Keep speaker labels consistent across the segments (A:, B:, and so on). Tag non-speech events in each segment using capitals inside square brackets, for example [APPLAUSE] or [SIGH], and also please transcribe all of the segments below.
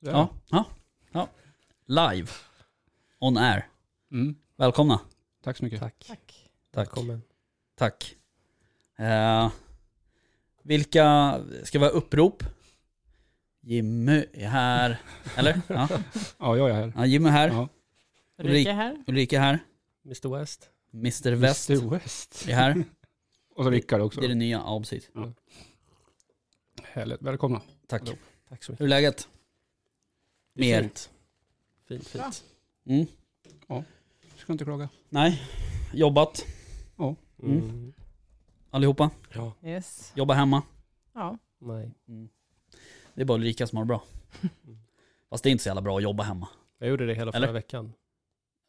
A: Ja, ja, ja. Live. On air.
B: Mm.
A: Välkomna.
B: Tack så mycket.
C: Tack.
D: Tack.
A: Tack.
C: Välkommen.
A: Tack. Eh, vilka ska vara upprop? Jimmy är här. Eller? Ja,
B: Ja, jag är här.
A: ja Jimmy är här.
B: Ja.
D: Ulrika här.
A: Ulrika är här.
C: Mr West.
A: Mr West
B: Mr West.
A: är här.
B: Och så Rickard också.
A: Det är det nya. Ja, precis.
B: Härligt. Välkomna.
A: Tack.
B: Hallå.
C: Tack så mycket.
A: Hur är läget?
C: Det är
A: Mer.
C: Fint, fint. fint.
A: Mm.
B: Ska inte klaga.
A: Nej. Jobbat. Mm.
C: Mm.
A: Allihopa.
C: Ja,
D: Yes.
A: Jobbar hemma.
D: Ja.
C: nej.
A: Mm. Det är bara Ulrika som har det
C: [LAUGHS]
A: bra. Fast det är inte så jävla bra att jobba hemma.
C: Jag gjorde det hela förra
A: Eller?
C: veckan.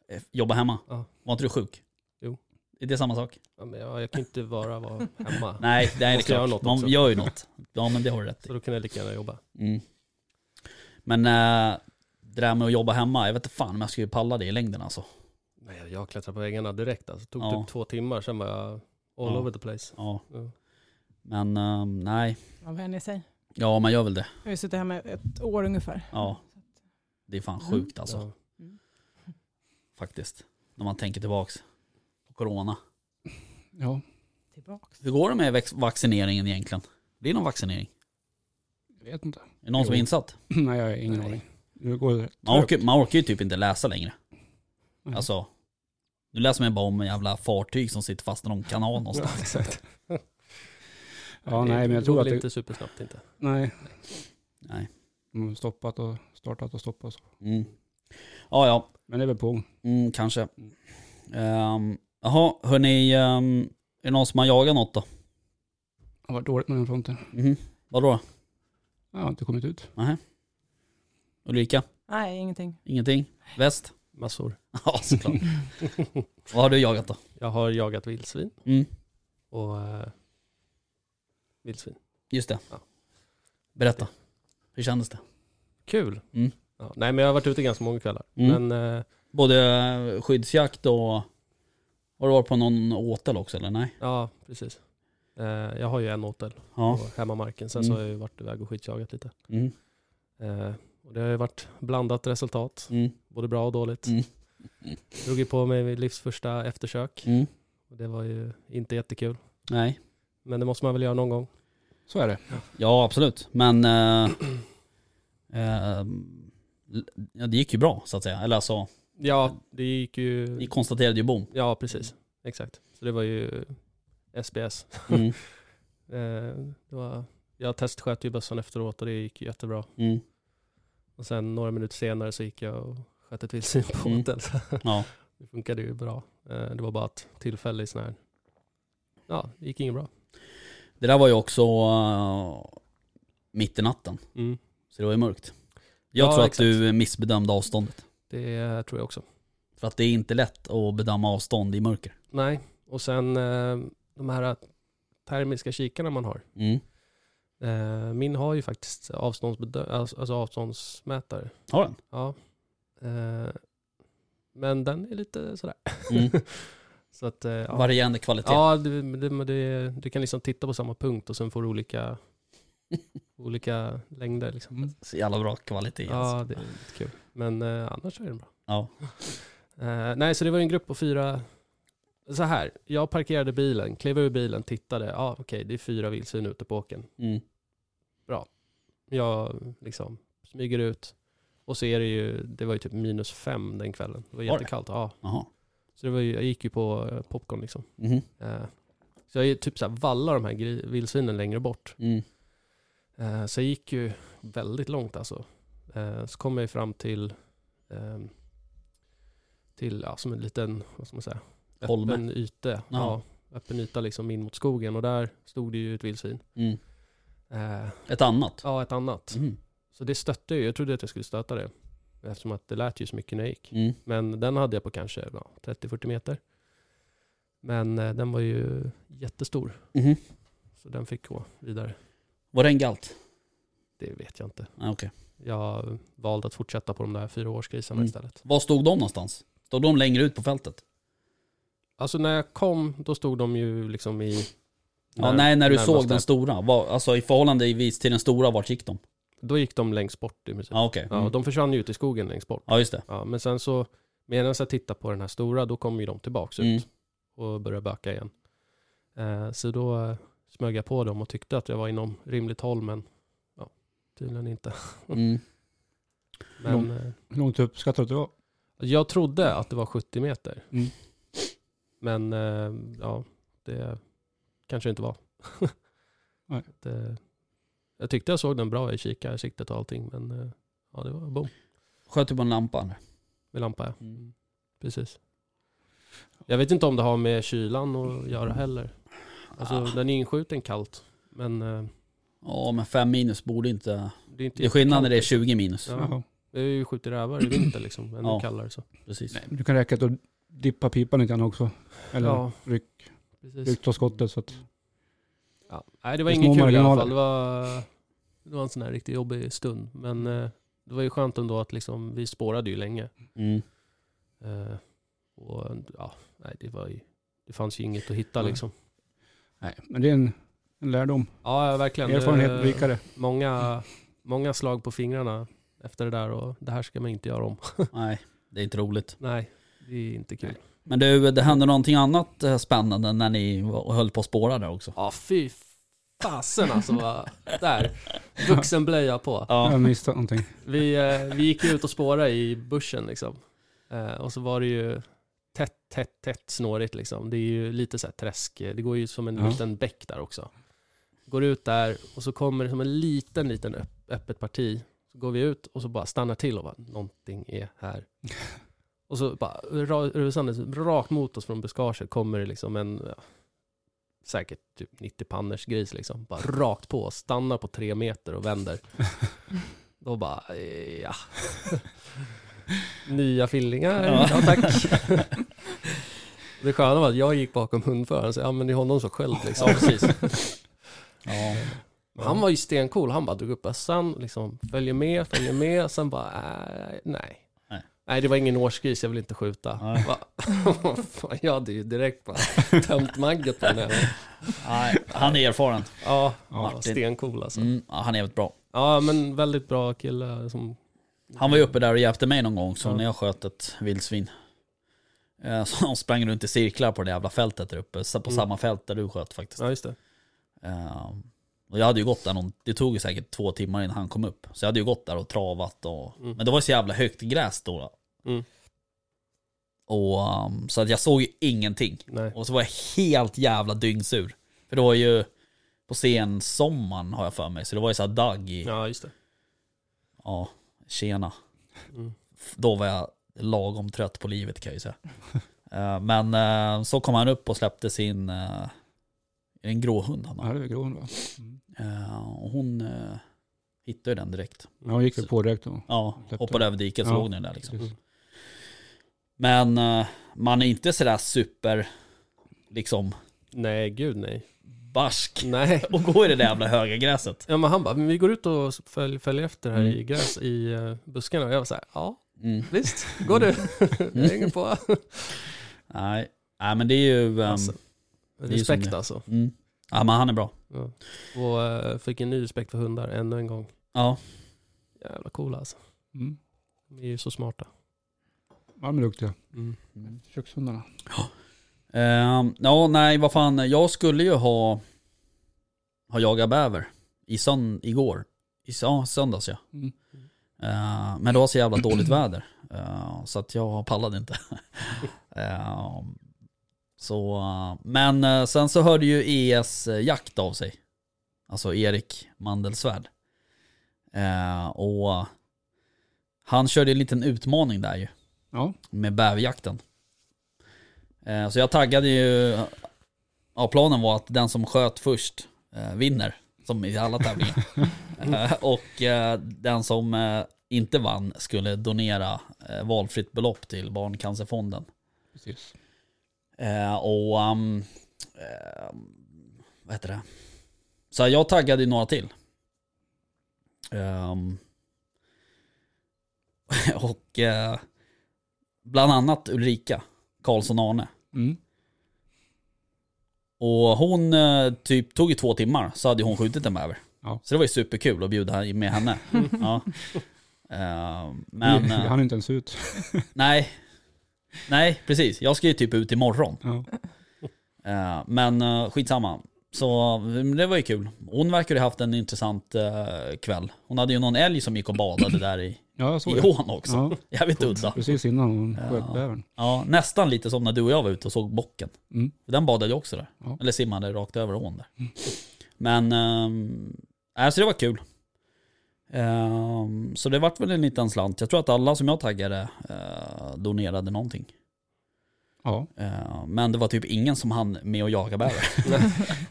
A: Eh, Jobba hemma.
C: Ja.
A: Var inte du sjuk?
C: Jo.
A: Är det samma sak?
C: Ja, men jag, jag kan inte bara vara hemma.
A: Nej, det är
C: Måste göra
A: klart.
C: något
A: Man
C: också.
A: gör ju något. Ja, men det har du
C: [LAUGHS]
A: rätt i.
C: Så då kan jag lika gärna jobba.
A: Mm. Men äh, det där med att jobba hemma, jag vet inte fan om jag skulle palla det i längden alltså.
C: Nej, jag- jag klättrade på väggarna direkt alltså. Tog
A: Ja.
C: typ två timmar, sen var jag all
A: Ja.
C: over the place.
A: Ja.
C: Ja.
A: Men ehm, nej,
D: Man vänjer sig.
A: ja man gör väl det.
D: Jag har ju suttit hemma ett år ungefär.
A: Ja. Det är fan sjukt alltså,
C: Mm. Ja.
A: faktiskt. När man tänker tillbaks på corona.
B: Ja.
D: Tillbaks.
A: Hur går det med vax- vaccineringen egentligen? Blir det någon vaccinering?
B: Jag vet inte. [CLEARS THROAT]
A: Är det någon som är
B: Jo.
A: insatt?
B: Nej, jag har ingen
C: Nej.
B: aning. Nu går det
A: Man
B: trögt.
A: orkar, man orkar ju typ inte läsa längre.
B: Nej.
A: Alltså, nu läser man ju bara om en jävla fartyg som sitter fast i någon kanal någonstans.
B: [LAUGHS] Ja, exakt. Ja, nej, men jag tror
C: går
B: att
C: väl
B: det...
C: inte supersnabbt inte.
B: Nej.
A: Nej.
B: De har stoppat och startat och stoppat. och så.
A: Mm. Ja, ja.
B: Men det är väl på gång.
A: Mm, kanske. Ehm, Jaha, hörni. ehm, är det någon som har jagat något då?
B: Det har varit dåligt med den fronten.
A: Mhm. Vadå?
B: Jag har inte kommit ut.
A: Ulrika?
D: Nej, ingenting.
A: Ingenting? Väst? [LAUGHS]
C: Massor.
A: Ja, såklart. Vad har du jagat då?
C: Jag har jagat vildsvin
A: Mm,
C: och eh, vildsvin.
A: just det.
C: Ja.
A: Berätta. Hur kändes det?
C: Kul.
A: Mm.
C: Ja, nej, men jag har varit ute ganska många kvällar.
A: Mm.
C: Men eh,
A: Både eh, skyddsjakt och... Har du varit på någon åtel också eller? Nej?
C: ja, precis. Eh, jag har ju en åtel
A: Ja.
C: på hemmamarken. Sen så
A: Mm.
C: har jag ju varit iväg och skitjagat lite.
A: Mm,
C: Eh, och det har ju varit blandat resultat,
A: mm,
C: både bra och dåligt.
A: Mm.
C: Drog ju på mig mitt livs första eftersök.
A: mm.
C: Och det var ju inte jättekul.
A: Nej.
C: Men det måste man väl göra någon gång.
B: Så är det.
A: Ja, absolut. Men... eh, ehm, ja, det gick ju bra så att säga. Eller alltså,
C: Ja, det gick ju...
A: ni konstaterade ju bom.
C: Ja, precis. Exakt. Så det var ju SBS.
A: Mm,
C: Eh, det var, jag testsköt ju bössan efteråt och det gick ju jättebra.
A: mm,
C: Och sen några minuter senare så gick jag och sköt ett vildsvin på
A: Mm.
C: åtel.
A: ja.
C: Det funkade ju bra. Eh, det var bara ett tillfälle i sån här... Ja, det gick inget bra.
A: Det där var ju också eh, mitt i natten,
C: Mm.
A: så det var ju mörkt. Jag
C: Ja,
A: tror att
C: exakt.
A: du missbedömde avståndet.
C: Det eh, tror jag också.
A: För att det är inte lätt att bedöma avstånd i mörker.
C: Nej, och sen eh, de här termiska kikarna man har.
A: Mm.
C: Eh, min har ju faktiskt avståndsbedö- alltså alltså avståndsmätare.
A: Har den?
C: Ja. Eh, men den är lite sådär.
A: Mm.
C: Så att, eh, [LAUGHS] ja.
A: Varierande kvalitet.
C: Ja, du, men det, men det, du kan liksom titta på samma punkt och sen får du [LAUGHS] olika, olika längder. Liksom.
B: Mm.
A: Så jävla bra kvalitet alltså.
C: Ja, det är lite kul. Men eh, annars är den bra.
A: Ja.
C: Eh, nej, så det var en grupp på fyra. Så här, jag parkerade bilen, klev ur bilen, tittade. Ja, okej, det är fyra vildsvin ute på åkern.
A: Mm.
C: Jag liksom smyger ut och så är det ju, det var ju typ minus fem den kvällen. Det var
A: Var det?
C: jättekallt. Ja,
A: Jaha.
C: så det var ju, jag gick ju på eh, popcorn liksom.
A: Mhm.
C: Eh, så jag är typ så här vallar de här gri- vildsvinen längre bort.
A: Mm.
C: Eh, Så jag gick ju väldigt långt alltså. Eh, Så kom jag ju fram till, ehm, till ja, som en liten, vad ska man säga,
A: Holme.
C: öppen yta. Ja. öppen yta liksom in mot skogen och där stod det ju ett vildsvin.
A: Mm.
C: Eh,
A: Ett annat.
C: Ja, ett annat.
A: Mm.
C: Så det stötte jag ju. jag trodde att jag skulle stöta det. Eftersom att det lät ju så mycket när jag gick.
A: Mm.
C: Men den hade jag på kanske ja, 30-40 meter. Men eh, den var ju jättestor,
A: Mhm.
C: så den fick gå vidare.
A: Var det en galt?
C: Det vet jag inte.
A: Ah, okej.
C: Jag valde att fortsätta på de där fyraårsgrisarna
A: Mm.
C: istället.
A: Var stod de någonstans? Stod de längre ut på fältet?
C: Alltså när jag kom, då stod de ju liksom i...
A: Ja, nej, när du
C: närmast
A: såg
C: där.
A: den stora. Var, alltså i förhållandevis till den stora, vart gick de?
C: Då gick de längst bort i princip.
A: Ja, okej.
C: Ja,
A: Mm.
C: de försvann ju ut i skogen längst bort.
A: Ja, just det.
C: Ja, men sen så, medan jag tittade på den här stora, då kom ju de tillbaks ut
A: Mm.
C: och började böka igen. Eh, så då eh, smög jag på dem och tyckte att jag var inom rimligt håll, men ja,
B: [LAUGHS]
C: tydligen inte.
A: Mm.
C: Men eh,
B: Hur långt upp ska du att det var?
C: jag trodde att det var 70 meter.
B: Mm.
C: Men eh, ja, det kanske inte var.
B: [LAUGHS] Nej.
C: Det, jag tyckte jag såg den bra i kikar, siktet och allting, men eh, ja, det var bom
A: Sköt du på en lampa? eller?
C: med lampa. Ja.
A: Mm.
C: Precis. Jag vet inte om det har med kylan att göra heller. Alltså
A: Ah.
C: den är inskjuten kallt. Men eh,
A: Ja, men fem minus borde inte...
C: det är inte
A: Det är skillnad
C: jättekallt,
A: när det är
C: liksom.
A: 20 minus.
C: Ja,
B: Jaha.
C: det är ju skjutit rävar i vinter liksom. Ännu
A: Ja.
C: kallare så.
A: Precis.
B: Nej, men det kan räcka att du dippar pipan lite grann också. Eller
C: Ja,
B: ryck,
C: precis.
B: ryck av skottet så att...
C: Ja. Nej det var
B: Det är
C: inget
B: små
C: kul i alla
B: marginaler.
C: fall. Det var, det var en sån här riktigt jobbig stund. Men
B: Mm.
C: eh, det var ju skönt ändå att liksom, vi spårade ju länge.
A: Mm.
C: Eh, och ja, nej det var ju, det fanns ju inget att hitta
B: Nej.
C: liksom.
B: Nej, men det är en, en lärdom.
C: Ja, ja, verkligen.
B: Erfarenhet
C: Eh,
B: rikare.
C: många, många slag på fingrarna efter det där och det här ska man inte göra om. [LAUGHS]
A: Nej, det är inte roligt.
C: Nej, det är inte kul.
A: Men du, det hände någonting annat eh, spännande när ni var- höll på att spåra där också?
C: Ja, fy fasen alltså. va. där, vuxenblöja på.
A: Ja.
B: Jag missade någonting.
C: Vi, eh, vi gick ut och spårade i bussen liksom. Eh, och så var det ju tätt, tätt, tätt snårigt liksom. Det är ju lite så här träsk. Det går ju som en
B: Ja.
C: liten bäck där också. Går ut där och så kommer det som en liten, liten öpp, öppet parti. Så går vi ut och så bara stannar till och bara, någonting är här. Och så bara ra- rusandes rakt mot oss från buskaget kommer det liksom en, ja, säkert typ 90 panners gris liksom,
A: [LAUGHS]
C: bara rakt på oss, stannar på tre meter och vänder. Då bara, eh, ja. [LAUGHS] Nya fillingar,
A: Ja.
C: ja, tack. [LAUGHS] Det sköna var att jag gick bakom hundföraren, så ja men det är honom som sköld liksom.
A: Ja,
C: [LAUGHS]
A: precis. Ja.
C: Han var ju stencool, han bara drog upp bössan, liksom, följer med, följer med, sen bara, äh, nej.
A: Nej.
C: Nej, det var ingen årsgris, jag vill inte skjuta.
A: Nej.
C: Va? Fan, [LAUGHS] jag hade ju direkt bara tömt magget på
A: [LAUGHS]
C: den här.
A: Nej, han är erfaren.
C: Ja,
B: Ja.
C: ja stencool alltså.
A: Mm, ja, han är jävligt bra.
C: Ja, men väldigt bra kille. Som,
A: Han var ju uppe där och hjälpte mig någon gång, så
C: Ja.
A: när jag sköt ett vildsvin. eh, [LAUGHS] Så han sprang runt i cirklar på det jävla fältet där uppe, så på
C: Mm.
A: samma fält där du sköt faktiskt.
C: Ja, just det.
A: Eh, Och jag hade ju gått där, någon, det tog ju säkert två timmar innan han kom upp. Så jag hade ju gått där och travat och,
C: Mm.
A: men det var ju så jävla högt gräs då.
C: Mm.
A: Och, ehm, så att jag såg ju ingenting.
C: Nej.
A: Och så var jag helt jävla dyngsur. För det var ju på sensommaren har jag för mig, så det var ju så här dagg i, ja,
C: Ja, just det.
A: tjena.
C: Mm.
A: F- Då var jag lagom trött på livet kan jag ju säga. [LAUGHS] Eh, Men eh, så kom han upp och släppte sin, eh, en gråhund han har.
B: Ja, det är grov va?
A: Eh, Och hon eh, hittade ju den direkt.
B: Ja, hon gick väl på direkt då.
A: Ja,
B: Släppte
A: hoppade över diket
B: Ja.
A: såg ni den där liksom.
B: Precis.
A: Men eh, man är inte sådär super, liksom
C: Nej,
A: [LAUGHS]
C: gud nej.
A: barsk
C: Nej.
A: och gå i det där jävla höga gräset.
C: Ja, men han bara, men vi går ut och följ, följer efter här
A: Mm.
C: i gräs i eh, buskarna. Och jag var så här, ja
A: Mm. [LAUGHS]
C: visst, går du. [LAUGHS] jag hänger på.
A: Nej. Nej, men det är ju... ehm,
C: Alltså,
A: är ju som
C: respekt
A: det.
C: alltså.
A: Mm. Ja, men han är bra.
C: Ja. Och eh, fick en ny respekt för hundar ännu en gång.
A: Ja,
C: Jävla coola alltså.
B: Mm.
C: De är ju så smarta.
B: Ja, men duktiga.
A: Mm.
B: Kökshundarna.
A: Ehm, ja nej, vad fan. Jag skulle ju ha, ha jagat bäver i sön, igår. I sö- ja, söndags ja.
B: Mm.
A: Ehm, men det var så jävla dåligt väder. Ehm, så att jag pallade inte. [LAUGHS] Ehm, så, eh, men eh, sen så hörde ju ES jakt av sig. Alltså Erik Mandelsvärd. Ehm, och han körde en liten utmaning där ju.
B: Ja,
A: med bäverjakten. Eh, Så jag taggade ju, ja planen var att den som sköt först eh, vinner, som i alla tävlingar. Eh, Och eh, den som eh, inte vann skulle donera eh, valfritt belopp till Barncancerfonden.
B: Precis.
A: Eh, och ehm, ehm, vad heter det? Så jag taggade ju några till. Ehm, [LAUGHS] och eh, bland annat Ulrika Karlsson Arne.
B: Mm.
A: Och hon eh, typ tog ju två timmar så hade hon skjutit en bäver.
B: Ja.
A: Så det var ju superkul att bjuda här- med henne. ja. Eh,
B: [LAUGHS]
A: men
B: Vi
A: eh,
B: hann inte ens ut.
A: nej. Nej, precis. Jag ska ju typ ut imorgon.
B: Ja.
A: Eh, Men eh, skitsamma. Så mm, det var ju kul. Hon verkar ha haft en intressant eh, kväll. Hon hade ju någon älg som gick och badade
B: [CLEARS THROAT]
A: där i,
B: ja, jag såg
A: i
B: det.
A: ån också.
B: Ja,
A: Jävligt udda.
B: precis innan hon
A: Ja.
B: sköt bävern.
A: Ja, nästan lite som när du och jag var ute och såg bocken.
B: Mm.
A: Den badade ju också där.
B: Ja. Mm.
A: Eller simmade rakt över ån där. Men, ehm, alltså det var kul. Ehm, så det vart väl en liten slant. Jag tror att alla som jag taggade eh, donerade någonting.
B: Ja.
A: Eh, men det var typ ingen som hann med att
B: [LAUGHS]
A: jaga bäver.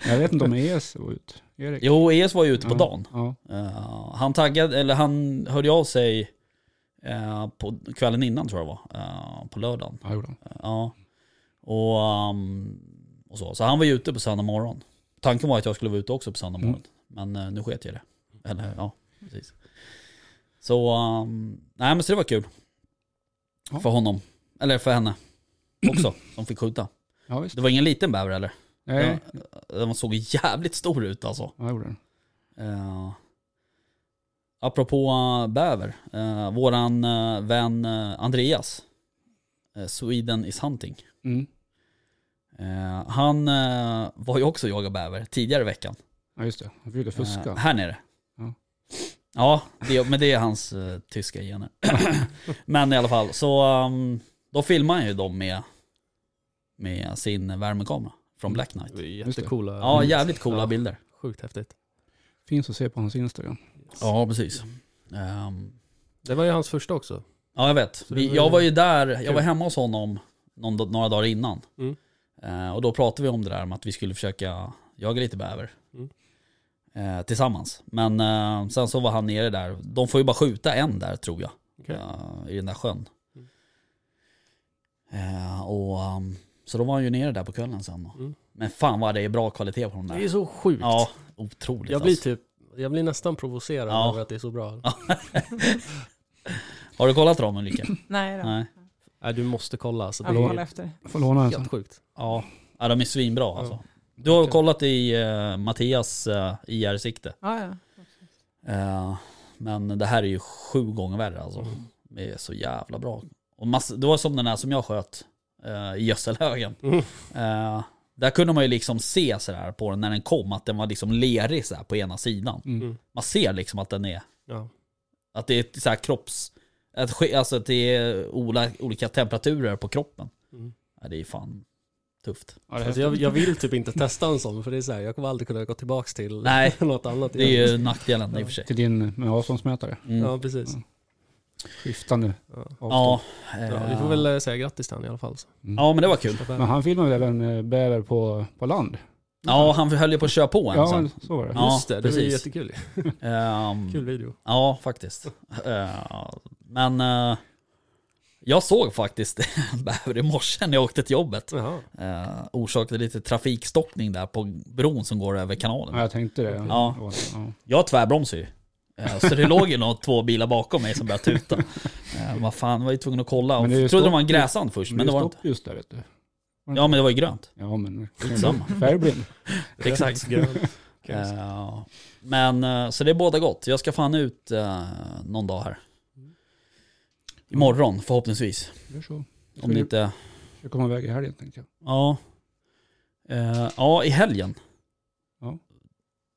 B: Jag vet inte om ES var ut. Erik.
A: jo, ES var ju ute på
B: ja.
A: dagen.
B: Ja.
A: Eh, han taggade, eller han hörde av sig eh, på kvällen innan tror jag det var, eh, på lördagen.
B: Ja,
A: Eh,
B: det gjorde han.
A: Ja. Och, ehm, och så. så han var ju ute på söndag morgon. Tanken var att jag skulle vara ute också på söndag
B: Mm.
A: morgon. Men eh, nu sket jag i det. Eller ja, precis. Så, ehm, nej men så det var kul.
B: Ja.
A: För honom. Eller för henne också, som fick skjuta.
B: Ja, visst.
A: Det var ingen liten bäver eller?
B: Nej,
A: Den såg jävligt stor ut alltså.
B: ja, det gjorde han.
A: Eh, apropå eh, bäver, eh, våran eh, vän eh, Andreas, eh, Sweden is hunting.
B: Mm.
A: Eh, han eh, var ju också och jagade bäver tidigare i veckan.
B: Ja, just det. Han försökte
A: Eh,
B: fuska.
A: här nere.
B: Ja.
A: Ja, det, men det är hans eh, tyska gener. [CLEARS THROAT] men i alla fall, så ehm, då filmar han ju dem med, med sin värmekamera från Black Knight.
C: Det var ju
B: Just det.
C: jättecoola.
A: Ja, jävligt coola
C: Ja,
A: bilder.
C: Sjukt häftigt.
B: Finns att se på hans Instagram.
A: Ja, precis. Ehm,
C: Det var ju hans första också.
A: Ja jag vet.
C: det
A: Vi,
C: var
A: jag
C: ju-
A: var ju där, jag
C: Kul.
A: var hemma hos honom någon, dag- några dagar innan.
C: Mm.
A: Eh, och då pratade vi om det där med att vi skulle försöka jaga lite bäver.
C: Mm.
A: Eh, tillsammans. Men eh, sen så var han nere där. De får ju bara skjuta en där tror jag.
C: Okej.
A: Eh, I den där sjön.
C: Mm.
A: Eh, och, ehm, så då var han ju nere där på kvällen sen. Då.
C: Mm.
A: Men fan vad det är bra kvalitet på de där.
C: Det är så sjukt.
A: Ja, otroligt
C: jag, blir
A: alltså.
C: typ, jag blir nästan provocerad
A: Ja.
C: över att det är så bra. typ-
A: Har du kollat dem Ulrika?
D: Nej då.
A: Nej.
C: Nej, du måste kolla. Alltså, det
D: Jag får hålla
C: är
D: efter.
B: Jag får låna en sån.
C: helt sjukt.
A: Ja. ja, de är svinbra alltså.
C: Ja.
A: Du har
C: Verkligen.
A: kollat i eh, Mattias eh, IR-sikte.
D: Ja, ja.
A: Eh, men det här är ju sju gånger värre alltså.
C: Mm.
A: Det är så jävla bra. Och mass- det var som den här som jag sköt eh, i gödselhögen.
C: Mm.
A: Eh, där kunde man ju liksom se sådär på den när den kom att den var liksom lerig sådär på ena sidan.
B: Mm.
C: Mm.
A: Man ser liksom att den är,
C: Ja.
A: att det är ett såhär kropps, att ske- alltså att det är ola- olika temperaturer på kroppen.
C: Mm.
A: Ja, det är fan tufft.
B: Ja, det är
C: Alltså, jag, jag vill typ inte testa en sån, för det är så här, jag kommer aldrig kunna gå tillbaka till
A: Nej.
C: [LAUGHS] något annat.
A: Det är ju nackdelen i och för sig.
B: Till din med avståndsmätare.
A: Mm.
C: Ja, precis.
B: Skiftande
C: Ja.
B: avstånd.
A: Ja,
C: Ja,
A: eh,
C: vi får väl eh, säga grattis till honom i alla fall. så.
A: Mm. ja, men det var kul.
B: Men han filmade väl en eh, bäver på, på land?
A: Ja, han höll ju på att köra på en
B: Ja,
A: sen.
B: så var det.
A: Ja,
C: Just det, det var ju
A: precis. Mm.
C: jättekul.
A: Ehm,
C: Kul video.
A: Ja, faktiskt. Eh, men eh, jag såg faktiskt [LAUGHS] en bäver i morse när jag åkte till jobbet.
C: Jaha.
A: Uh, orsakade lite trafikstockning där på bron som går över kanalen.
B: Ja, jag tänkte det.
A: Ja.
B: Ja.
A: Jag tvärbromsade ju. Eh, Så det [LAUGHS] låg ju någon, två bilar bakom mig som började tuta. Eh, Vad fan, var ju tvungen att kolla. Och
B: Men det är ju
A: trodde det
B: stopp-
A: var en gräsand först, men det var inte.
B: stopp just där vet du.
A: Ja, men det var ju grönt.
B: Ja, men...
A: Skitsamma.
B: [LAUGHS] Färgblind.
A: Exakt.
C: Grönt.
A: Eh, men eh, så det är båda gott. Jag ska fan ut eh, någon dag här. Imorgon förhoppningsvis.
B: Gör så. Ska
A: Om det
B: du,
A: inte...
B: du komma iväg i helgen tänkte jag.
A: Ja. Eh, ja, i helgen.
B: Ja.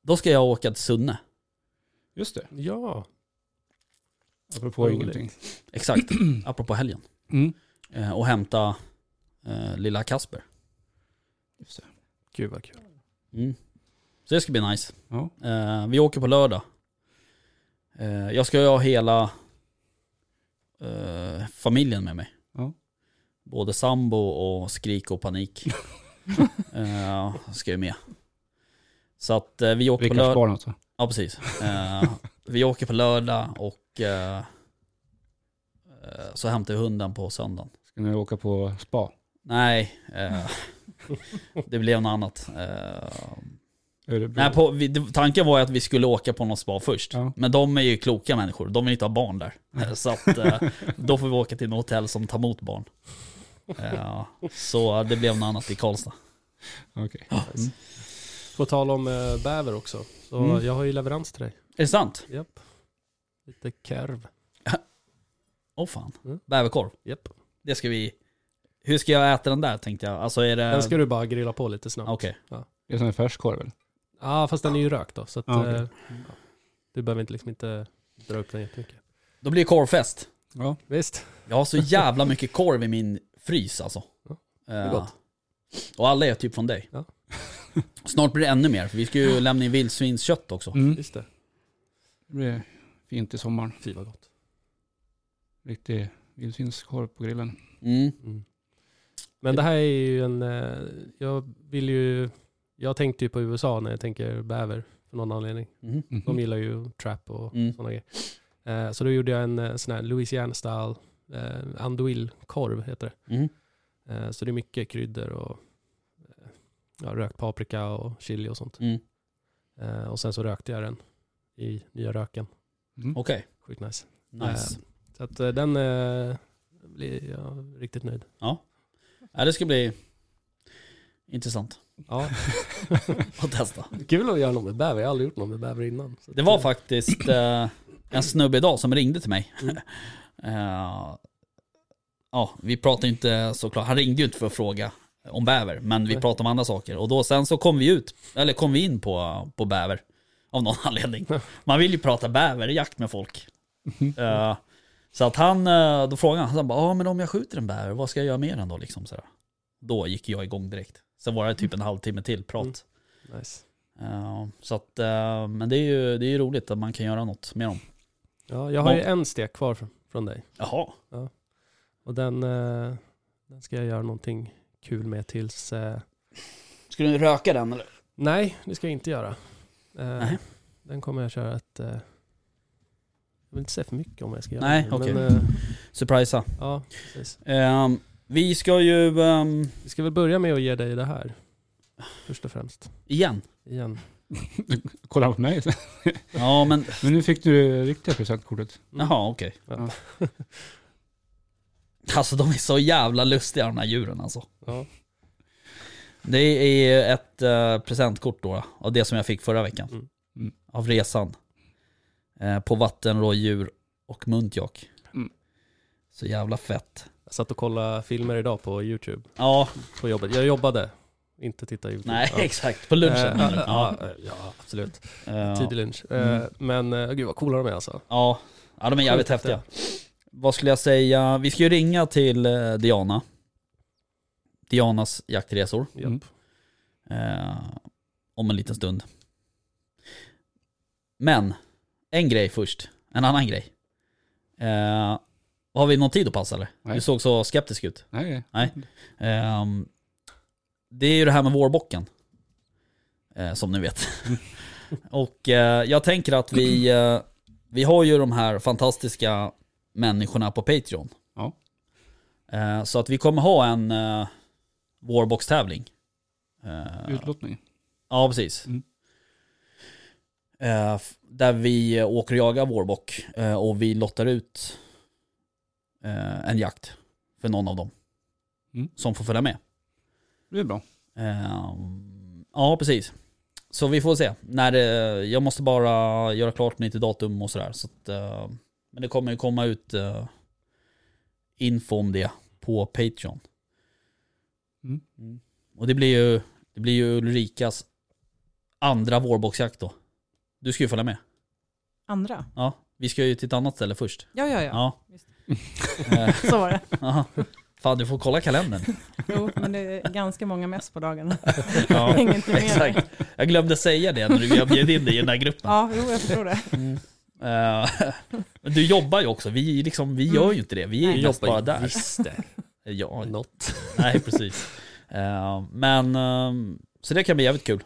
A: Då ska jag åka till Sunne.
B: Just det.
C: Ja,
B: Apropå
C: Roligt.
B: ingenting.
A: Exakt. [CLEARS THROAT] apropå helgen.
B: Mm.
A: Eh, och hämta eh, lilla Kasper.
B: Just det.
C: gud vad kul.
A: Mm. Så det ska bli nice.
B: Ja.
A: Eh, vi åker på lördag. Eh, jag ska ju ha hela eh, familjen med mig.
B: Ja.
A: Både sambo och skrik
B: [LAUGHS]
A: och panik. eh, ska ju med. Så att eh, vi åker på
B: Rickards
A: lördag.
B: barn alltså.
A: Ja precis. Eh, vi åker på lördag och eh, Eh, Så hämtade jag hunden på söndagen.
B: Ska ni åka på spa?
A: Nej, eh, det blev något annat. Eh,
B: Örebro?
A: Nej, på, vi, det- tanken var ju att vi skulle åka på någon spa först.
B: Ja.
A: Men de är ju kloka människor, de vill inte ha barn där. Så att, eh, då får vi åka till något hotell som tar emot barn. Ja, så det blev något annat i Karlstad.
B: Okej.
C: På tal om eh, bäver också. Så
B: Mm.
C: jag har ju leverans till dig.
A: Är det sant?
C: Japp. Lite kerv.
A: Åh fan.
C: Mm.
A: Bäverkorv.
C: Japp.
A: Det ska vi... Hur ska jag äta den där tänkte jag? Alltså är det...
C: Den ska du bara grilla på lite snabbt.
A: Okej.
B: Det är som en färskorv eller?
C: Ja, fast den är ju rökt då. Så att,
B: Ja, okej.
C: eh, ja. du behöver inte, liksom inte dra upp den jättemycket.
A: Då blir det korvfest.
B: Ja.
C: Visst.
A: Jag har så jävla mycket korv i min frys alltså.
C: Ja,
A: Eh,
C: gott.
A: Och alla är typ från dig.
C: Ja.
A: [LAUGHS] Snart blir det ännu mer, för vi ska ju lämna in vildsvinskött också.
B: Mm.
C: [LAUGHS] Just det.
B: Det blir fint i sommaren.
C: Fy vad gott.
B: Riktig vildsvinskorv på grillen.
A: Mm.
C: Men det här är ju en... eh, Jag vill ju... Jag tänkte ju på USA när jag tänker bäver. För någon anledning.
A: Mhm.
B: Mhm.
C: De gillar ju trap och
A: Mm.
C: sådana grejer. Eh, Så då gjorde jag en eh, sån här Louisiana style eh, andouille-korv heter
A: Mm.
C: det. Eh, Så det är mycket kryddor och eh, ja, rökt paprika och chili och sånt.
A: Mm.
C: Eh, Och sen så rökte jag den i nya röken.
B: Mm.
A: Okej,
C: Sjukt nice.
A: nice.
C: Eh, Så att eh, den eh, blir jag riktigt nöjd.
A: Ja, det ska bli intressant
C: Ja,
A: att testa.
C: kul att göra något med bäver. Jag har aldrig gjort något med bäver innan. Så
A: Det
C: att,
A: var
C: eh,
A: faktiskt eh, en snubbe idag som ringde till mig.
C: Mm.
A: [LAUGHS] Eh, ja, vi pratade inte såklart, han ringde ju inte för att fråga om bäver, men vi
C: Nej.
A: pratade om andra saker. Och då sen så kom vi ut, eller kom vi in på, på bäver av någon [LAUGHS] anledning. Man vill ju prata bäverjakt med
C: [LAUGHS]
A: folk. Eh, så att han, eh, då frågade han, han bara, ja men om jag skjuter en bäver, vad ska jag göra med den då liksom? Sådär. Då gick jag igång direkt. Sen var det typ en halvtimme till prat.
C: Mm. Nice.
A: Ja, så att, eh, men det är, ju, det är ju roligt att man kan göra något med dem.
C: Ja, jag har ju en stek kvar fr- från dig.
A: Jaha.
C: Och den, eh, den ska jag göra någonting kul med tills... eh,
A: Ska du röka den eller?
C: Nej, det ska jag inte göra. Eh,
A: Nej.
C: Den kommer jag köra ett... eh, Jag vill inte säga för mycket om vad jag ska göra.
A: Nej,
C: Men,
A: okej.
C: eh,
A: Surprisa.
C: Ja, precis.
A: Ehm, vi ska ju, ehm,
C: Vi ska väl börja med att ge dig det här. Först och främst.
A: igen.
C: Igen.
B: [LAUGHS] Kolla på mig.
A: Ja men,
B: Men nu fick du det riktiga presentkortet.
A: jaha okej.
C: Mm. Ja.
A: Alltså de är så jävla lustiga de här djuren alltså.
C: Ja.
A: Det är ett eh, presentkort då, av det som jag fick förra veckan.
C: Mm.
B: Mm.
A: Av resan. Eh, på vattenrådjur och muntjak.
B: Mm.
A: Så jävla fett.
C: Jag satt och kollade filmer idag på YouTube.
A: Ja,
C: På jobbet. Jag jobbade. Inte titta YouTube.
A: nej
C: ja.
A: [LAUGHS] exakt. På lunchen.
C: Eh,
A: menar du?
C: ja, ja, ja, absolut.
A: Eh,
C: Tidig lunch.
A: Mm.
C: Eh, Men eh, gud vad coola de är alltså.
A: Ja, ja de är jävligt
C: Sjukt
A: häftiga. Vad skulle jag säga? Vi ska ju ringa till eh, Diana. Dianas jaktresor.
C: Japp.
B: Mm.
A: Eh, om en liten stund. Men, en grej först. En annan grej. Eh, har vi någon tid att passa eller?
B: Nej.
A: Du såg så skeptisk ut.
B: Nej.
A: Nej. Ehm, det är ju det här med vårbocken. Eh, som
B: [LAUGHS]
A: ni vet. och eh, jag tänker att vi, eh, vi har ju de här fantastiska människorna på Patreon.
B: Ja.
A: Eh, så att vi kommer ha en eh, vårbockstävling. Eh,
B: Utlottning.
A: Ja, precis.
B: Mm.
A: Eh, f- där vi eh, åker och jagar vårbock eh, och vi lottar ut eh, en jakt för någon av dem.
B: Mm.
A: Som får följa med.
B: Det är
A: [LAUGHS]
B: bra.
A: Eh, ja, precis. Så vi får se. När, eh, jag måste bara göra klart nytt datum och sådär. Så att, eh, men det kommer ju komma ut eh, info om det på Patreon.
B: Mm.
A: Och det blir ju, det blir ju Ulrikas andra vårboxjakt då. Du ska ju följa med.
D: Andra?
A: Ja, vi ska ju till ett annat ställe först.
D: Ja, ja, ja.
A: Ja.
D: just
A: Eh, [LAUGHS]
D: Så var det.
A: ja. Fan du får kolla kalendern.
D: Jo, men det är ganska många mess på dagarna.
A: Ja,
D: Ingenting mer.
A: exakt. Jag glömde säga det när vi bjöd in dig i den här gruppen.
D: Ja, jo, jag förstår det.
A: Eh, [LAUGHS] men du jobbar ju också, vi, liksom, vi gör ju inte det. Vi är
D: Nej.
A: ju mest bara där.
C: Mm. Visst det.
A: [LAUGHS] Ja,
C: Något.
A: nej precis. Eh, men, eh, så det kan bli jävligt kul.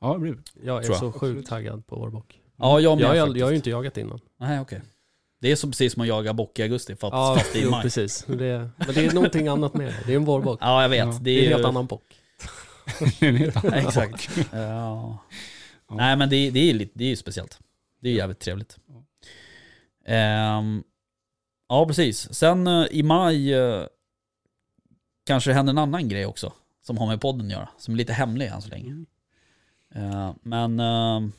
B: Ja, det blir [LAUGHS] bra.
C: Jag är
A: Tror jag.
C: så sjukt
B: Absolut.
C: taggad på vårbock.
A: Ja, jag
C: Jag,
A: med
C: har ju
A: jag,
C: aldrig- jag har ju inte jagat innan.
A: Nej, okej. Det är som precis som att jaga bock i augusti fast,
C: Ja,
A: fast i
C: jo,
A: maj.
C: precis. Det, men det är någonting annat med det. Det är en vårbock.
A: Ja jag vet,
B: Ja.
A: det
C: Det är
A: är
C: en helt
A: ju...
C: annan bock.
B: Det är en helt annan
A: Exakt.
B: sak.
A: Ja.
B: Ja.
A: Nej men det, det är ju lite, det är ju speciellt. Det är ju jävligt trevligt.
B: Ja.
A: Ehm, ja precis. Sen eh, i maj eh, kanske det händer en annan grej också. Som har med podden att göra. Som är lite hemlig än så länge.
B: Mm.
A: Eh, men eh,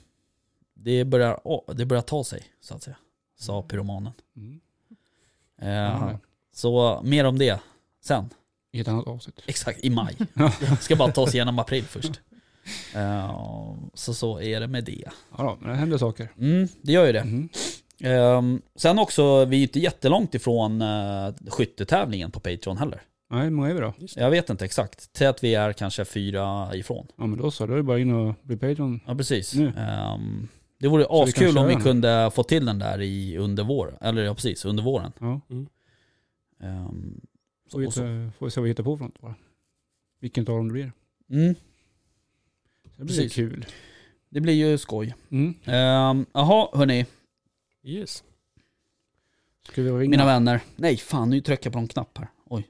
A: det, börjar, å- det börjar ta sig så att säga. Sa pyromanen.
B: Mm.
A: Eh,
B: Ja.
A: Så mer om det sen.
B: I ett annat avsnitt.
A: Exakt,
B: [LAUGHS]
A: i maj. Ska bara ta oss igenom april först. Eh, så så är det med det.
B: Ja, då, men det händer saker.
A: Mm, det gör ju det.
B: Mm.
A: Ehm, sen också, vi är ju inte jättelångt ifrån uh, skyttetävlingen på Patreon heller.
B: Nej, hur många är vi då?
A: Jag vet inte exakt. Säg att vi är kanske fyra ifrån.
B: Ja, men då så. Då är det bara in och bli Patreon.
A: Ja, precis.
B: Nu.
A: Ehm, det vore
B: vi kan
A: askul om
B: köra
A: vi
B: den.
A: kunde få till den där i, under våren. Eller ja, precis, under våren.
B: Ja.
A: Ehm,
B: Får vi,
A: och så.
B: hitta, får vi se vad vi hittar på för något bara. Vilken av dem det blir.
A: Mm,
B: Det blir
A: Precis.
B: kul.
A: det blir ju skoj.
B: Mm.
A: Ehm, Jaha, hörni,
C: Yes.
B: Ska vi ringa?
A: mina vänner. Nej, fan nu trycker jag på någon knapp här. Oj.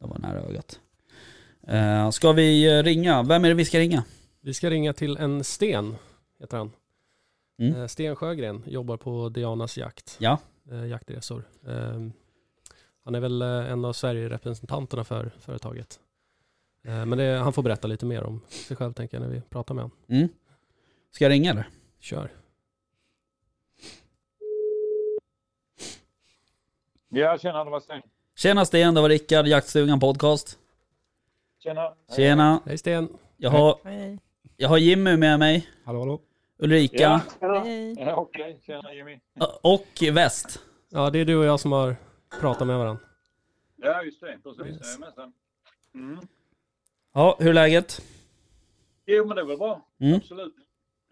A: Det var nära ögat. Uh, ska vi eh, ringa? Vem är det vi ska ringa?
C: Vi ska ringa till en Sten, heter han.
A: Mm.
C: Eh, Sten Sjögren jobbar på Dianas jakt.
A: Ja.
C: Eh, Jaktresor. Eh, Han är väl eh, en av Sverigerepresentanterna för företaget. Eh, Men det, han får berätta lite mer om sig själv tänker jag när vi pratar med honom.
A: Mm. Ska jag ringa eller?
C: Kör.
E: Ja, tjena, det var Sten.
A: Tjena Sten, det var Rickard, Jaktstugan Podcast.
E: Tjena.
A: Tjena.
C: Hej Sten.
A: Jag har,
D: Hej.
A: jag har Jimmy med mig,
B: Hallå, hallå.
A: Ulrika
E: tjena.
D: Hej.
E: Ja, Okej, tjena Jimmy.
A: och Väst.
C: Ja, det är du och jag som har pratat med varandra.
E: Ja, just det. Precis.
C: Yes.
E: Jajamensan. Mm.
A: Ja, hur är läget?
E: Jo, men det är väl bra.
A: Mm.
E: Absolut.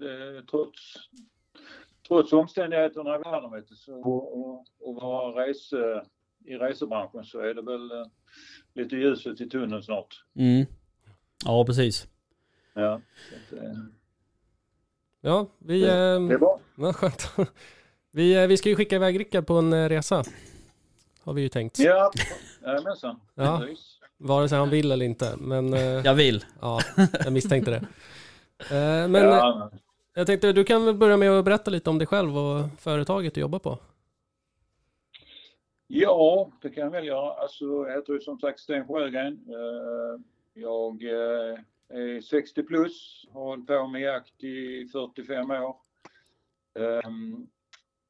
E: Eh, trots, trots omständigheterna i världen vet du, så, och, och vara rese, i resebranschen så är det väl eh, lite ljuset i tunneln snart.
A: Mm. Ja, precis.
E: Ja, så att, eh,
C: Ja, vi...
E: det är
C: Eh,
E: bra.
C: ja, skönt. [LAUGHS] Vi, eh, vi ska ju skicka iväg Rickard på en eh, resa. Har vi ju tänkt.
E: Ja, jajamensan.
C: Ja.
E: Precis.
C: Vare sig han vill eller inte. Men eh, ja.
A: Jag vill.
C: jag misstänkte det. Eh, Men eh,
E: Ja,
C: jag tänkte, du kan väl börja med att berätta lite om dig själv och företaget du jobbar på.
E: Ja, det kan jag väl göra. Alltså, jag heter ju som sagt Sten Sjögren. Eh, Jag eh, är 60 plus, har hållit på med jakt i 45 år. Ehm,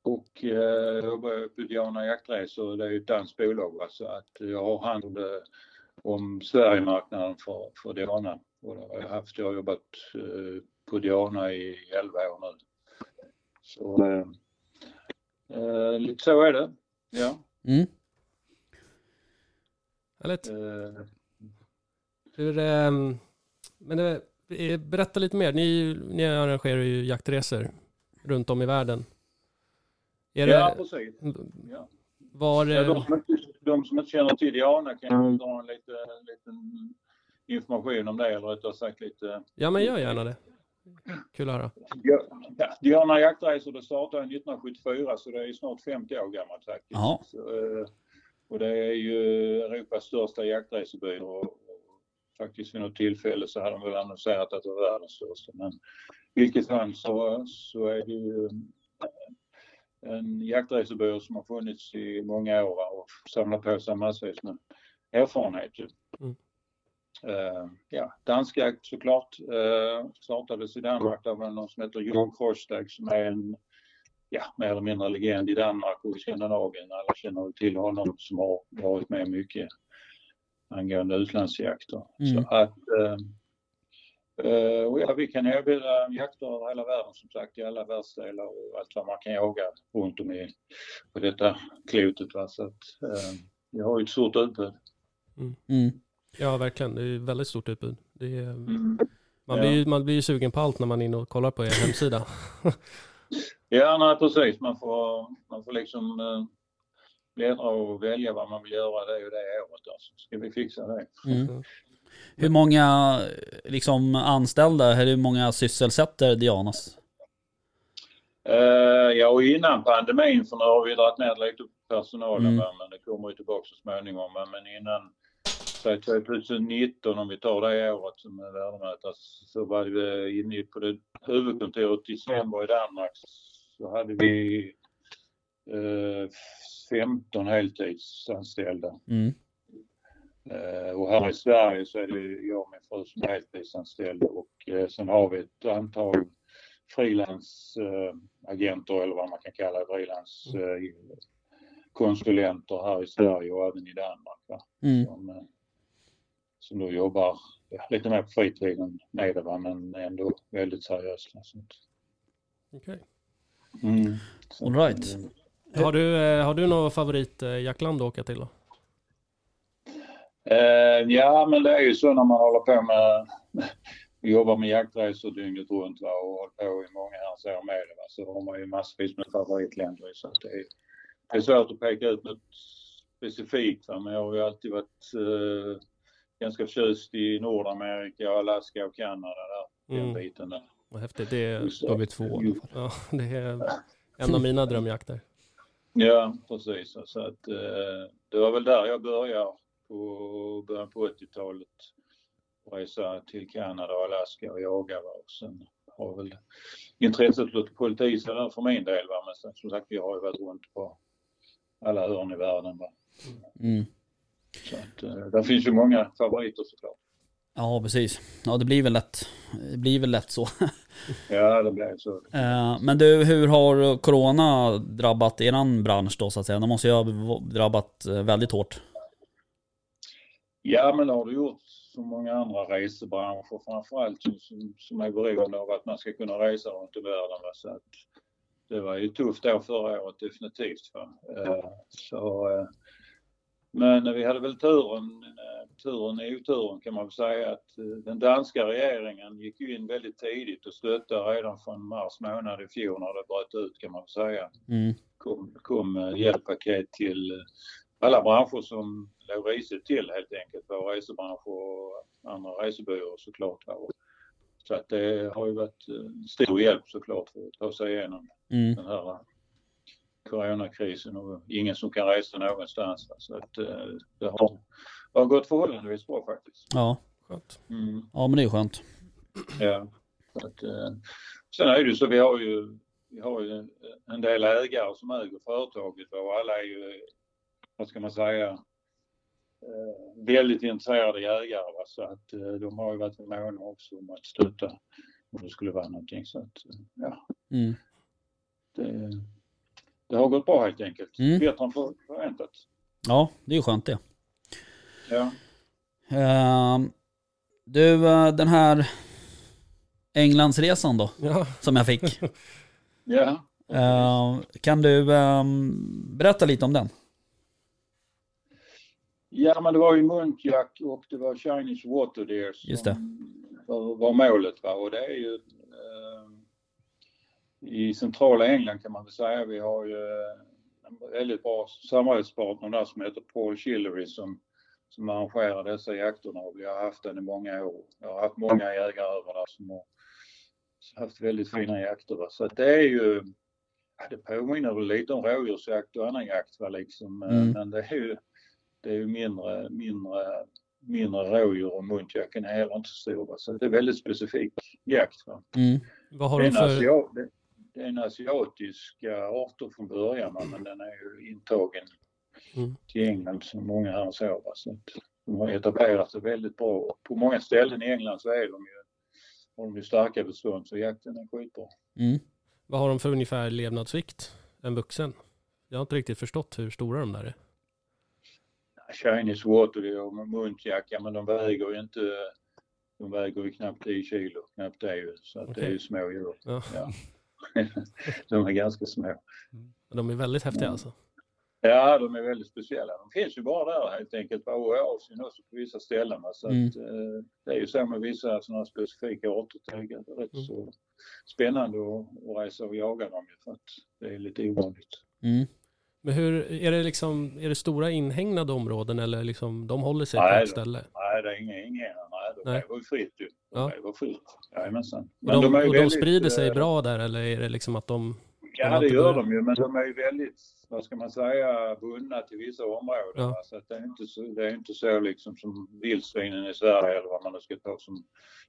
E: Och eh, jobbar på Diana Jaktresor, det är ju ett danskt bolag. Va? Så att jag har hand eh, om Sverigemarknaden för, för Diana. Och det har jag haft. Jag har jobbat eh, på Diana i 11 år nu. Så eh, eh, lite så är det. Ja.
A: Mm.
C: Härligt.
E: Eh,
C: Hur, ehm, men det, eh, berätta lite mer. Ni, ni arrangerar ju jaktresor runt om i världen. Är
E: ja,
C: det,
E: precis. Ja.
C: var, eh,
E: Ja, De,
C: det-
E: som inte, de som inte känner till Diana kan jag dra en lite, liten information om det, eller rättare sagt lite...
C: ja, men gör gärna det. Kul att höra.
E: Ja, Diana Jaktresor det startade 1974, så det är ju snart 50 år gammalt faktiskt.
A: Jaha.
E: Så, eh, och det är ju Europas största jaktresebyrå. Och, och faktiskt vid något tillfälle så hade de väl annonserat att det var världens största. Men i vilket fall så, så är det ju eh, en jaktresebyrå som har funnits i många år va, och samlar på sig massvis med erfarenhet. ju.
C: Mm.
E: Eh, ja, dansk jakt såklart. Uh, startades i Danmark. Där var det någon som heter Jon Korsdag som är en ja, mer eller mindre legend i Danmark och i Skandinavien. Alla känner till honom som har varit med mycket angående utlandsjakter.
A: Mm.
E: Så att, eh, eh, och ja, vi kan erbjuda jakter över hela världen som sagt, i alla världsdelar och allt vad man kan jaga runt om i, på detta klotet. Va? Så att, eh, vi har ju ett stort utbud.
A: Mm.
C: Ja, verkligen. Det är ju väldigt stort utbud. Det är, man,
E: Ja.
C: blir ju, man blir ju sugen på allt när man är inne och kollar på er hemsida.
E: Ja, nej, precis. Man får, man får liksom eh, bläddra och välja vad man vill göra det och det året. Alltså. Ska vi fixa det?
A: Mm. Hur många eh, liksom, anställda, eller hur många sysselsätter Dianas?
E: Eh, ja, och innan pandemin, för nu har vi dragit ner lite på personalen,
A: Mm.
E: va, men det kommer ju tillbaka så småningom. va, Men innan säg 2019, om vi tar det året som är värdemätare, så var vi inne på det huvudkontoret i Sembo i Danmark. Så hade vi eh, 15 heltidsanställda.
A: Mm.
E: Eh, Och här i Sverige så är det ju jag och min fru som är heltidsanställd och eh, sen har vi ett antal frilansagenter eller vad man kan kalla det, frilanskonsulenter här i Sverige och även i Danmark. Va?
A: Mm.
E: Som, eh, som då jobbar ja, lite mer på fritiden med det va? men ändå väldigt seriöst. va, så att-
C: Okej.
E: Mm. Så-
A: All right.
C: Har, du, eh, har du någon favoritjaktland att åka till då?
E: Eh, ja, men det är ju så när man håller på med [LAUGHS] jobbar med jaktresor dygnet runt va, och håller på i många herrans år med det. Va, så har man ju massvis med favoritländer. Så att det, är, det är svårt att peka ut något specifikt. Va, men jag har ju alltid varit eh, ganska förtjust i Nordamerika, Alaska och Kanada. Där, Den
C: Mm.
E: biten där.
C: Vad häftigt. Det är,
E: Så-
B: Då har vi två i alla fall.
C: ja, det är en av mina drömjakter.
E: Ja, precis. Så att, eh, det var väl där jag började på början på 80-talet. Resa till Kanada och Alaska och jaga. Va? Och sen har väl intresset hållit i sig där för min del. Va? Men sen, som sagt, jag har ju varit runt på alla hörn i världen. Va?
A: Mm.
E: Så att, eh, där finns ju många favoriter såklart.
A: Ja, precis. Ja, det blir väl lätt, det blir väl lätt så.
E: Ja, det blev så.
A: Eh, Men du, hur har corona drabbat eran bransch då så att säga? Den måste ju ha v- drabbat eh, väldigt hårt.
E: Ja, men det har du gjort som många andra resebranscher framförallt som, som, som är beroende av att man ska kunna resa runt i världen. Va? Så att det var ju tufft år förra året definitivt. Va? Eh, så, eh, men vi hade väl turen, eh, turen i oturen kan man väl säga att eh, den danska regeringen gick ju in väldigt tidigt och stöttade redan från mars månad i fjol när det bröt ut kan man väl säga
A: Mm.
E: kom, kom eh, hjälppaket till eh, alla branscher som låg risigt till helt enkelt. Både resebransch och andra resebyråer såklart. va. Och Så att det har ju varit eh, stor hjälp såklart för att ta sig igenom
A: Mm.
E: den här eh, coronakrisen och ingen som kan resa någonstans. va. Så att eh, det har, det har gått förhållandevis bra faktiskt.
A: Ja.
C: Skönt.
E: Mm.
A: ja, men det är skönt.
E: Ja. Så att, eh, sen är det ju så vi har ju, vi har ju en- en del ägare som äger företaget och alla är ju, vad ska man säga, eh, väldigt intresserade jägare. Va? Så att eh, de har ju varit måna också om att stötta om det skulle vara någonting. Så att, eh, ja,
A: Mm.
E: det, det har gått bra helt enkelt.
A: Mm.
E: Bättre än för- förväntat.
A: Ja, det är ju skönt det.
E: Ja.
A: Ehm, Du, eh, den här Englandsresan då,
C: Ja,
A: som jag fick.
E: ja.
A: Ehm, Kan du ehm, berätta lite om den?
E: Ja, men det var ju munkjack och det var Chinese Water Deer som
A: Just det.
E: Var, var målet. Va? Och det är ju eh, i centrala England kan man väl säga. Vi har ju eh, en väldigt bra samarbetspartner där som heter Paul Chillery som, som arrangerar dessa jakterna och vi har haft den i många år. Jag har haft många jägare över där som har haft väldigt fina jakter. Va? Så att det är ju Ja, det påminner väl lite om rådjursjakt och annan jakt va, liksom. eh,
A: Mm.
E: Men det är ju det är ju mindre, mindre, mindre rådjur och muntjacken är heller inte så stor. Va? Så det är väldigt specifik jakt. Va?
A: Mm.
C: vad har
E: Det, är
C: de
E: en
C: för...
E: asiat, det, det är en asiatisk eh, arter från början va? men den är ju intagen
C: Mm.
E: till England som många här så. Va? så att de har etablerat sig väldigt bra. Och På många ställen i England så är de ju, har de ju starka bestånd så jakten är skitbra.
A: Mm.
C: Vad har de för ungefär levnadsvikt? En vuxen? Jag har inte riktigt förstått hur stora de där är.
E: Chinese Waterloo och muntjacka, men de väger ju inte, de väger ju knappt 10 kilo, knappt det ju. Så att det är ju
C: Okej.
E: små djur. [LAUGHS]
C: Ja.
E: Ja. de är ganska små.
C: De är väldigt
E: Mm.
C: häftiga alltså.
E: Ja, de är väldigt speciella. De finns ju bara där helt enkelt, va, och i Asien också på vissa ställen. va. Så
A: Mm.
E: att, eh, det är ju så med vissa sådana specifika arter. tycker jag. Det är rätt
C: Mm.
E: så spännande att, att resa och jaga dem ju, för att det är lite ovanligt.
A: Mm.
C: Men hur, är det liksom, är det stora inhägnade områden eller liksom, de håller sig
E: Nej,
C: på ett
E: då.
C: ställe?
E: Nej, det är inga inhägnader. Nej, de
C: Nej.
E: lever ju fritt ju. De
C: Ja.
E: lever fritt. Jajamensan.
C: Och de,
E: är ju
C: och de
E: väldigt,
C: sprider sig
E: eh,
C: bra där eller är det liksom att de,
E: Ja, Ja, det gör de ju, men de är ju väldigt, vad ska man säga, bundna till vissa områden.
C: Ja.
E: va. Så att det är inte så, det är inte så liksom som vildsvinen i Sverige eller vad man nu ska ta som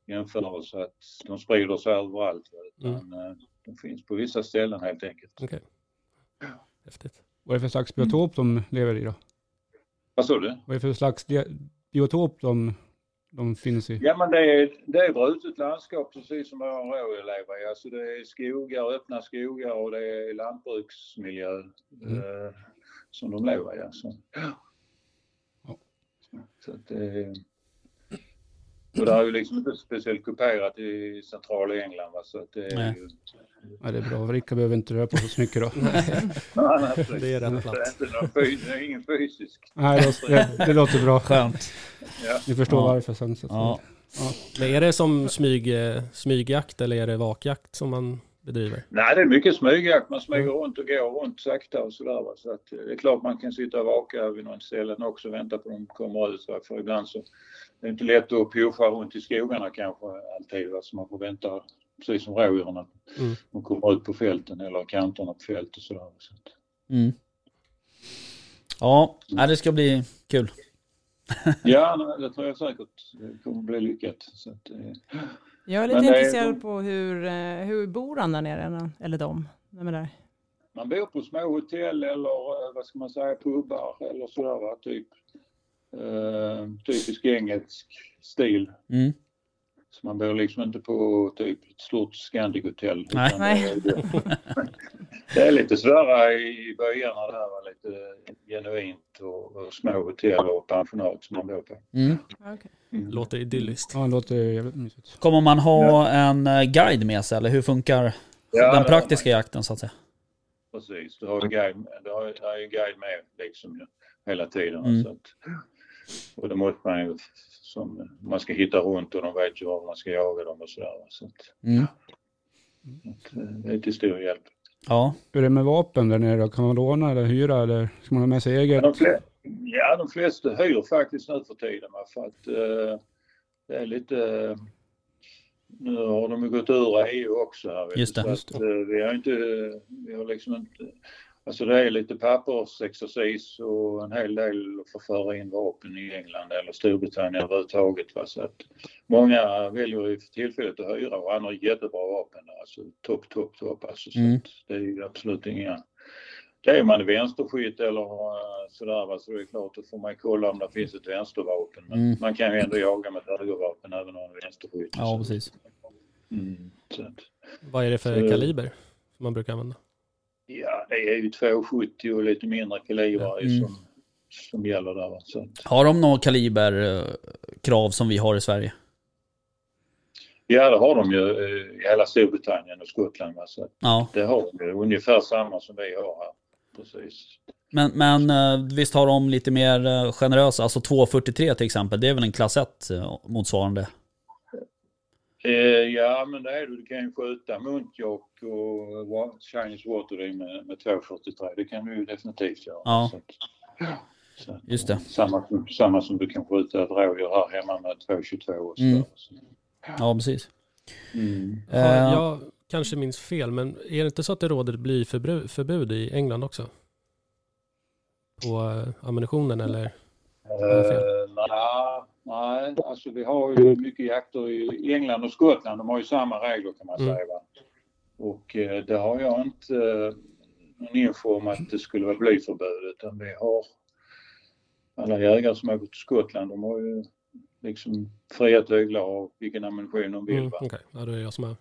E: jämförelse, att de sprider sig överallt. va.
C: Mm.
E: Utan, eh, De finns på vissa ställen helt enkelt.
C: Häftigt.
B: Vad är det för slags
A: Mm.
B: biotop de lever i då?
E: Vad sa du?
B: Vad är det för slags di- biotop de, de finns i?
E: Ja, men det är, det är brutet landskap precis som våra rådjur lever i. Alltså det är skogar, öppna skogar och det är lantbruksmiljö
C: Mm.
E: eh, som de lever i. Alltså.
B: Ja.
E: Så att det, och det är ju liksom inte speciellt kuperat i centrala England. Va? Så att det är
A: Nej.
E: ju... [LAUGHS]
B: Ja, det är bra. Rickard behöver inte röra på sig så mycket då.
A: [LAUGHS]
E: Nej, nej,
C: [LAUGHS]
E: precis.
C: Det är rätt
E: Så det
C: platt.
E: är inte någon fys- det är ingen fysisk.
B: Nej, det, låter- det,
A: [LAUGHS]
B: det låter bra.
A: Skönt.
B: Ni förstår
A: Ja.
B: varför sen. Så att,
A: Ja.
C: Men är det som smyg, eh, smygjakt eller är det vakjakt som man bedriver?
E: Nej, det är mycket smygjakt. Man smyger runt och går runt sakta och sådär. va. Så att eh, det är klart man kan sitta och vaka vid någon ställen också och vänta på att de kommer ut. va. För ibland så är det inte lätt att pusha runt i skogarna kanske alltid. va. Så man får vänta, precis som rådjuren, att
C: Mm.
E: de kommer ut på fälten eller kanterna på fält och sådär. Så att,
A: Mm. Ja, nej, det ska bli kul.
E: ja, nej, det tror jag säkert det kommer bli lyckat. Så att, eh,
D: Jag är lite
E: Men det är-
D: intresserad på hur, eh, hur bor han där nere? när- Eller de? Vem är där?
E: man bor på små hotell eller eh, vad ska man säga, pubbar eller sådär. va, Typ. Eh, typisk engelsk stil.
A: Mm.
E: Så man bor liksom inte på typ ett stort Scandic-hotell. utan
A: Nej.
D: Nej.
E: Det, är- det är lite svårare i byarna där, va, lite genuint och, och små hotell och pensionat som man bor på.
A: Mm.
D: Okay.
C: Låter idylliskt.
B: ja, det låter jävligt mysigt.
A: Kommer man ha en eh, guide med sig eller hur funkar
E: Ja, det har
A: den
E: man.
A: praktiska jakten så att säga?
E: Precis, du har ju guide, du har, du har ju guide med liksom ju, hela tiden.
A: Mm.
E: Så att, och det måste man ju, som, man ska hitta runt och de vet ju var man ska jaga dem och sådär. va, Så att,
A: Mm.
E: att, eh, det är till stor hjälp.
A: Ja,
B: Hur är det med vapen där nere då? Kan man låna eller hyra eller ska man ha med sig eget?
E: De flesta, ja, de flesta hyr faktiskt nu för tiden. va, För att eh, det är lite... eh, Nu har de ju gått ur EU också. Här, vet du,
A: Just det.
E: Så
B: Just
E: att, eh, vi har inte... Vi har liksom inte... Alltså det är lite pappersexercis och en hel del att få föra in vapen i England eller Storbritannien överhuvudtaget. Va? Så att många väljer ju för tillfället att hyra och andra jättebra vapen. Alltså topp, topp, topp. Alltså, så
A: Mm.
E: att det är ju absolut inga det är man vänsterskytt eller eh, sådär va, så det är klart då får man kolla om det finns ett vänstervapen. Men
A: Mm.
E: man kan ju ändå jaga med ett högervapen även om man är vänsterskytt.
A: ja precis.
E: Mm. Så att,
C: Vad är det för
E: Så-
C: kaliber som man brukar använda?
E: ja, det är ju 2,70 och lite mindre kalibrar
A: Mm.
E: som, som gäller där. va. Så att,
A: Har de några kaliberkrav som vi har i Sverige?
E: ja, det har de ju eh, i hela Storbritannien och Skottland. Va, så att
A: Ja,
E: det har de ju ungefär samma som vi har här. Precis.
A: men, men eh, visst har de lite mer eh, generösa, alltså 243 till exempel, det är väl en klass 1 eh, motsvarande?
E: Eh, ja, men det är det. Du kan ju skjuta muntjock och wa- Chinese water Ring med, med 2,43. Det kan du ju definitivt göra.
A: Ja.
E: Så att- så att,
A: Just det.
E: eh, Samma, som- samma som du kan skjuta ett rådjur här hemma med 2,22 och så.
A: Mm.
E: där. Så-
A: Ja, precis.
E: Mm.
A: Eh,
C: Har- Jag kanske minns fel, men är det inte så att det råder blyförbru- förbud i England också? På eh, ammunitionen eller? jag fel?
E: Eh, nej, nej, alltså vi har ju mycket jakter i England och Skottland. De har ju samma regler kan man
C: Mm.
E: säga. Va? Och eh, det har jag inte eh, någon info om att det skulle vara blyförbud utan vi har alla jägare som åker till Skottland de har ju liksom fria tyglar och vilken ammunition de vill.
C: Mm,
E: va.
C: Okej, ja, då är det jag som har
E: Så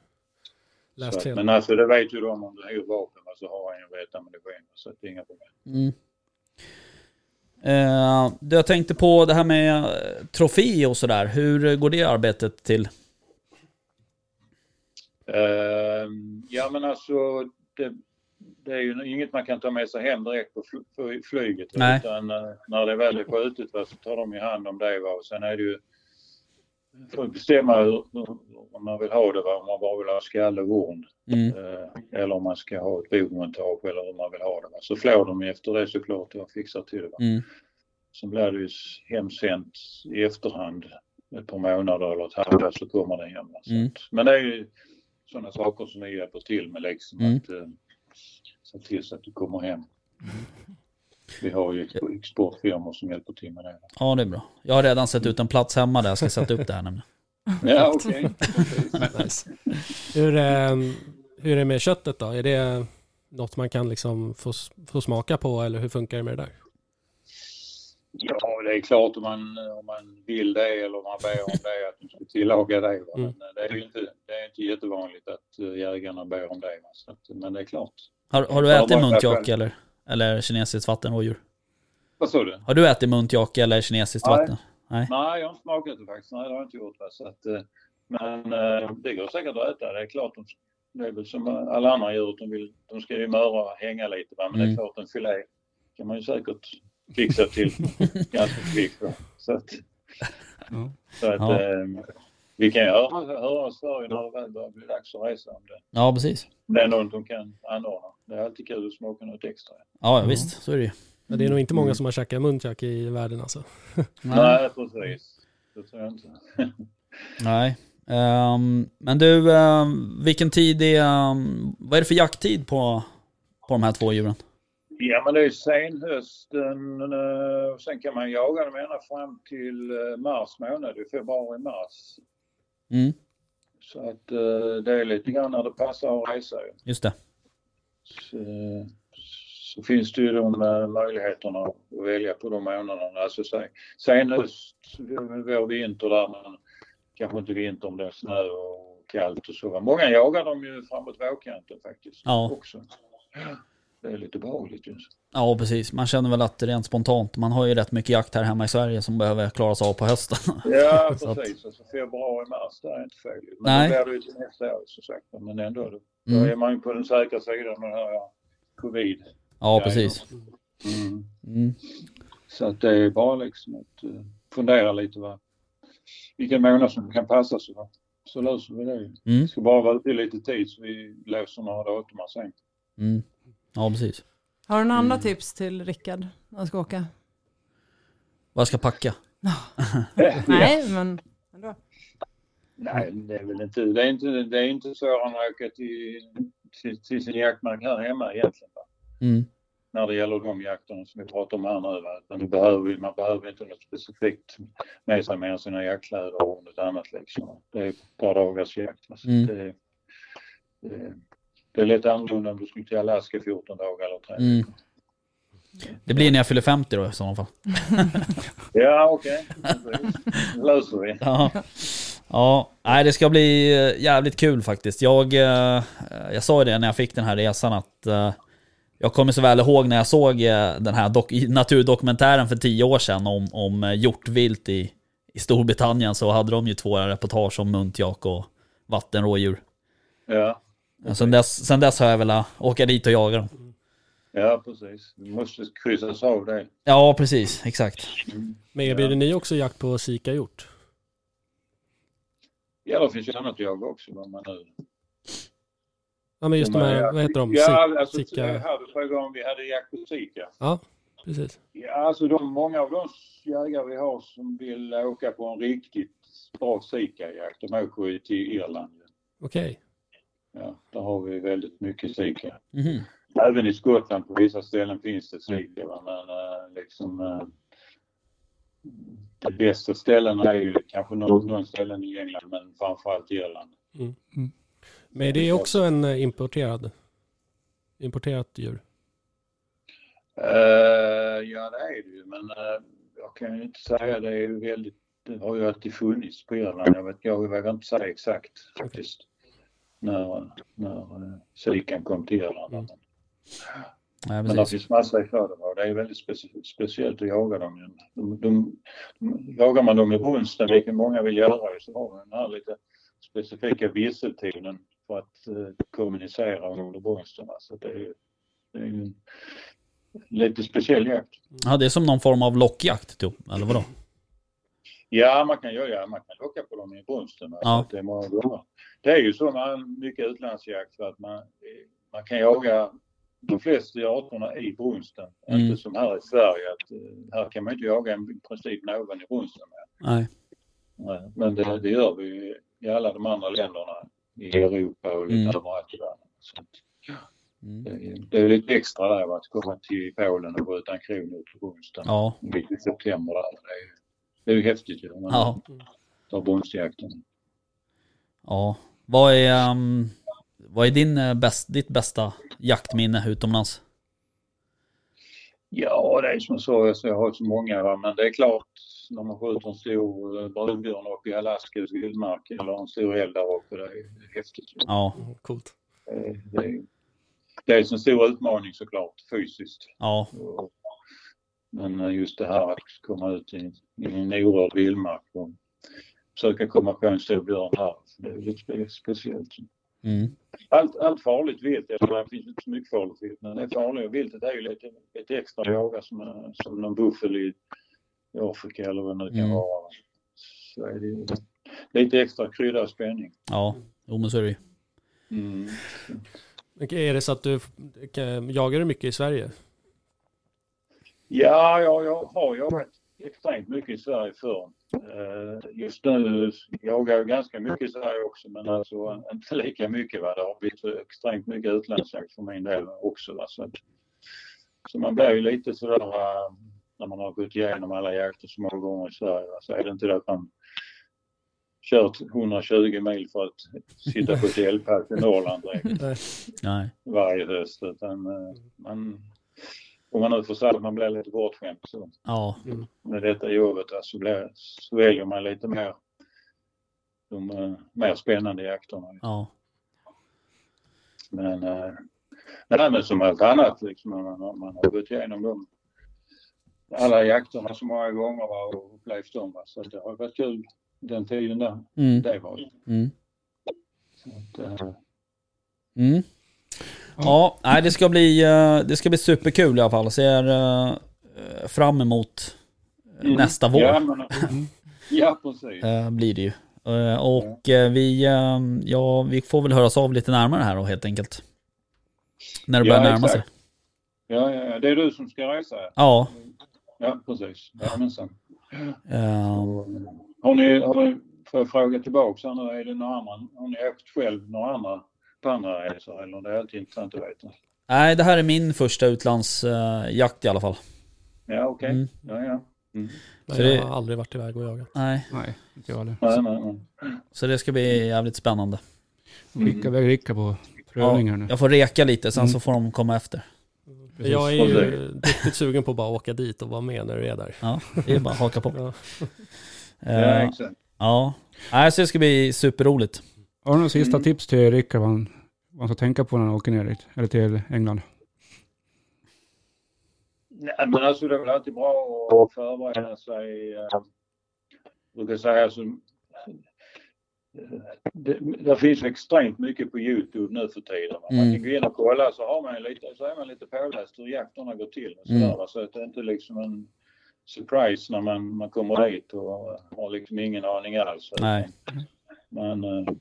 C: läst
E: att-
C: fel.
E: men alltså det vet ju de om du hyr vapen va, så har han ju rätt ammunition. Så att det är inga problem.
A: Mm. Eh, det jag tänkte på det här med eh, trofé och sådär, hur eh, går det arbetet till?
E: Ehm, ja men alltså det, det är ju inget man kan ta med sig hem direkt på fl- fly- flyget. va,
A: Nej.
E: Utan eh, när det väl är skjutet va, så tar de ju hand om det. Va, och sen är det ju får ju bestämma hur, hur, om man vill ha det. Va, om man bara vill ha skalle och horn.
A: Mm.
E: Eh, eller om man ska ha ett bogmontage eller hur man vill ha det. Va. Så flår de ju efter det såklart och fixar till det. Va.
A: Mm.
E: Sen blir det ju s- hemsänt i efterhand. Ett par månader eller ett halvår så kommer den hem. va. Så
A: Mm.
E: att- Men det är ju sådana saker som vi hjälper till med liksom.
A: Mm.
E: Att, eh, se till så att du kommer hem. Vi har ju ex- exportfirmor som hjälper till med det.
A: Ja, det är bra. Jag har redan sett ut en plats hemma där jag ska sätta upp det här nämligen.
E: Ja, okej.
C: Nice. Hur, eh, hur är det med köttet då? Är det något man kan liksom få, s- få smaka på eller hur funkar det med det där?
E: Ja, det är klart om man, om man vill det eller om man ber om det att de ska tillaga det. Va? Men eh,
C: Mm.
E: det är ju inte, det är inte jättevanligt att eh, jägarna ber om det. Va? Så att, men det är klart.
A: Har, har du
E: Ja,
A: ätit
E: bara-
A: muntjake eller, eller kinesiskt vattenrådjur?
E: Vad sa du?
A: Har du ätit muntjake eller kinesiskt
E: Nej.
A: vatten? Nej.
E: Nej, jag har inte smakat det faktiskt. Nej, det har jag inte gjort. Va? Så att, eh, men eh, det går säkert att äta. Det är klart, de, det är väl som alla andra djur. att De, vill, de ska ju möra och hänga lite. Va? Men det
A: Mm.
E: är klart, en filé kan man ju säkert fixa till ganska kvickt. va. Så att,
B: Ja.
E: så att
A: Ja.
E: eh, vi kan ju höra, höra oss för ju när det väl börjar bli dags att resa. Om det,
A: Ja, precis.
E: om det är något de kan anordna. Det är alltid kul att smaka något extra.
A: Ja,
B: Ja.
A: visst. Så är det ju.
C: Ja, det är nog inte många
E: Mm.
C: som har käkat muntjack i världen alltså.
E: Nej, precis. Det tror jag inte.
A: Nej. Ehm, men du, ehm, vilken tid är... ehm, vad är det för jakttid på, på de här två djuren?
E: Ja, men det är senhösten eh, och sen kan man jaga dem ända fram till eh, mars månad, det är februari-mars.
A: Mm,
E: Så att eh, det är lite grann när det passar att resa. ju.
A: just det.
E: Så, så finns det ju de eh, möjligheterna att välja på de månaderna. Alltså sen, senhöst, vår vinter där, men kanske inte vinter om det är snö och kallt och så. va. Många jagar dem ju framåt vårkanten faktiskt
A: Ja.
E: också. Det är lite behagligt ju.
A: Ja, precis. Man känner väl att rent spontant, man har ju rätt mycket jakt här hemma i Sverige som behöver klaras av på hösten. [LAUGHS]
E: Ja,
A: Så att-
E: precis. Alltså februari, mars, det är inte fel. Men
A: Nej.
E: Nej. då blir det ju till nästa år som sagt. Men ändå, då, då
A: Mm.
E: är man ju på den säkra sidan med den här ja, covid.
A: Ja, precis.
E: Mm.
A: Mm.
E: Så att det är bara liksom att eh, fundera lite va. vilken månad som kan passa så, va? så löser vi det.
A: Mm.
E: Det ska bara vara ute lite tid så vi löser några datum här sen.
A: Mm. Ja, precis.
D: Har du några andra tips till Rickard när han ska åka?
A: Vad jag ska packa?
D: Nej, men ändå.
E: Nej, det är väl inte, det är inte, det är inte svårare än att åka till, till, till sin jaktmark här hemma egentligen. Va?
A: Mm.
E: när det gäller de jakterna som vi pratar om här nu. va. Utan det behöver, man behöver inte något specifikt med sig mer än sina jaktkläder och något annat. Liksom. Det är ett par dagars jakt. va. Så
A: Mm.
E: det, det, det är lite annorlunda om du skulle till Alaska 14 dagar eller 30.
A: Mm. Det blir när jag fyller 50 då i sådana fall.
E: Ja, okej. Det löser vi.
A: Ja. ja, nej det ska bli eh, jävligt kul faktiskt. Jag, eh, jag sa ju det när jag fick den här resan att eh, jag kommer så väl ihåg när jag såg eh, den här dok- naturdokumentären för tio år sedan om, om eh, hjortvilt i, i Storbritannien så hade de ju två reportage om muntjak och vattenrådjur.
E: Ja,
A: Sen, dess, sen dess har jag velat åka dit och jaga dem.
E: ja, precis. Vi måste kryssas av det.
A: Ja, precis. Exakt.
C: Men erbjuder ni också jakt på sikahjort?
E: Ja, det finns ju annat att jaga också. Vad man nu
C: Ja men just de här, vad heter de?
E: Ja, alltså,
C: Sika-
E: här du frågade om vi hade jakt på sika.
C: Ja, precis.
E: Ja, alltså de, många av de jägare vi har som vill åka på en riktigt bra sikajakt, de åker ju till Irland.
C: Okej.
E: Ja, där har vi väldigt mycket sika.
A: Mhm.
E: Även i Skottland på vissa ställen finns det sika, va, men eh, liksom eh, de bästa ställena är ju kanske någon, någon ställen i England, men framförallt Irland.
C: Men det är också en eh, importerad? Importerat djur?
E: Eh, ja, det är det ju, men eh, jag kan ju inte säga det är ju väldigt, det har ju alltid funnits på Irland. Jag, vet, jag vågar inte säga exakt faktiskt när, när eh, sikan kom till Irland.
C: Mm,
A: Nej,
E: men alltså- det
A: precis.
E: finns massa i skörden och det är väldigt speci- speciellt att jaga dem. ju. De, de, de, jagar man dem i brunsten, vilket många vill göra, ju, så har de den här lite specifika visseltonen för att eh, kommunicera under brunsten. va. Så det är, ju- det är ju en lite speciell jakt.
A: Ja, det är som någon form av lockjakt, typ. eller vadå?
E: Ja, man kan göra ja, Man kan locka på dem i brunsten. va.
A: Ja.
E: Så att Det, är många gånger. det är ju så med mycket utlandsjakt för att man, eh, man kan jaga de flesta arterna i brunsten.
A: Mm.
E: Inte som här i Sverige. Att, eh, här kan man inte jaga i princip någon i brunsten. va.
A: Nej.
E: Nej, Men det, det gör vi ju i alla de andra länderna i Europa och lite
A: Mm.
E: överallt i världen. Så att,
A: Mm.
E: Det är lite extra där va, att komma till Polen och skjuta en krog nu på onsdagen.
A: Ja,
E: mitt i september där. Det är ju, det är ju häftigt ju. när Man
A: ja,
E: tar brunstjakten.
A: ja. Vad är, ehm, vad är din, eh, bäst, ditt bästa jaktminne utomlands?
E: Ja, det är som jag sa, alltså, jag har så många va? men det är klart när man skjuter en stor eh, brunbjörn uppe i Alaskas vildmark eller en stor älg där uppe, det är häftigt. ju.
A: Ja,
C: Mm, Coolt.
E: Eh, Det är, det är en stor utmaning såklart fysiskt.
A: ja,
E: Och- Men eh, just det här att komma ut i, i en orörd vildmark och försöka komma på en stor björn här, det är lite spe- speciellt.
A: mm.
E: Allt, allt farligt vilt, jag tror det finns inte så mycket farligt vilt, men det farliga viltet är ju lite, lite extra jaga som, eh, som någon buffel i i Afrika eller vad det nu kan
A: Mm.
E: vara. Så är det ju lite extra krydda och spänning.
A: ja. Jo men så är det ju.
E: Mm.
C: Men Är det så att du kan, jagar du mycket i [LAUGHS] Sverige?
E: Ja, ja, jag har jagat extremt mycket i Sverige förr. Eh, Just nu jagar jag ganska mycket i Sverige också, men alltså inte lika mycket. Va? Det har blivit så extremt mycket utlandsjakt för min del också. Va? Så, att, så man blir ju lite sådär, eh, när man har gått igenom alla jakter så många gånger i Sverige, va? så är det inte det att man kört 120 mil för att sitta på ett elpass i Norrland direkt
A: Nej.
E: varje höst. Utan eh, man, om man nu får säga att man blir lite bortskämd så
A: Ja,
E: med detta jobbet där så, blir, så väljer man lite mer de eh, mer spännande jakterna. liksom.
A: ja,
E: Men, eh, nej, men som allt annat, liksom, när man, har- man har gått igenom dem. alla jakterna så många gånger va, och upplevt dem. Va, så det har varit kul den tiden där.
A: mm,
E: Det var
A: mm,
E: så att, eh,
A: mm. Ja, nej, det ska bli, eh, det ska bli superkul i alla fall. Ser eh, fram emot eh, nästa vår.
E: Mm. Ja, men,
A: [LAUGHS]
E: ja precis.
A: Eh, blir det ju. Eh, och eh, vi, eh, ja, vi får väl höras av lite närmare här då helt enkelt. När det
E: Ja,
A: börjar närma sig.
E: exakt. Ja, ja, ja, det är du som ska resa. ja.
A: Ja.
E: Ja, precis. Jajamensan.
A: eh,
E: Har ni, har ni, får jag fråga tillbaka här nu, är det några andra, har ni åkt själv några andra på andra resor eller? Det är alltid intressant att veta.
A: nej, det här är min första utlandsjakt i alla fall.
E: Ja, okej.
A: Mm.
E: Ja, ja. Mm.
C: Nej,
A: Så det-
C: Jag har aldrig varit iväg och jagat.
A: Nej,
B: Nej, inte jag heller.
E: Nej, nej, nej.
A: så det ska bli jävligt spännande.
B: Skicka iväg Rickard på prövningar nu.
A: Jag får reka lite, sen
B: Mm.
A: så får de komma efter.
B: Precis.
C: Jag är ju riktigt sugen på att bara åka dit och vara med när du är där.
A: Ja, det är bara att haka på.
C: Ja.
E: [LAUGHS] Ja,
A: Eh,
E: exakt.
A: ja, nej, så det ska bli superroligt.
B: Har du några sista
E: Mm.
B: tips till Rickard vad han, vad han ska tänka på när han åker ner dit? Eller till England?
E: Nej, men alltså det är väl alltid bra att förbereda sig. eh, Jag brukar säga alltså, eh, det, det finns extremt mycket på Youtube nu för tiden. va. Man
A: Mm.
E: kan gå in och kolla så, har man lite, så är man lite påläst hur jakterna går till. Och
A: Mm.
E: sådär, va. Så att det är inte liksom en surprise när man, man kommer dit och har liksom ingen aning alls.
A: Nej.
E: Men eh,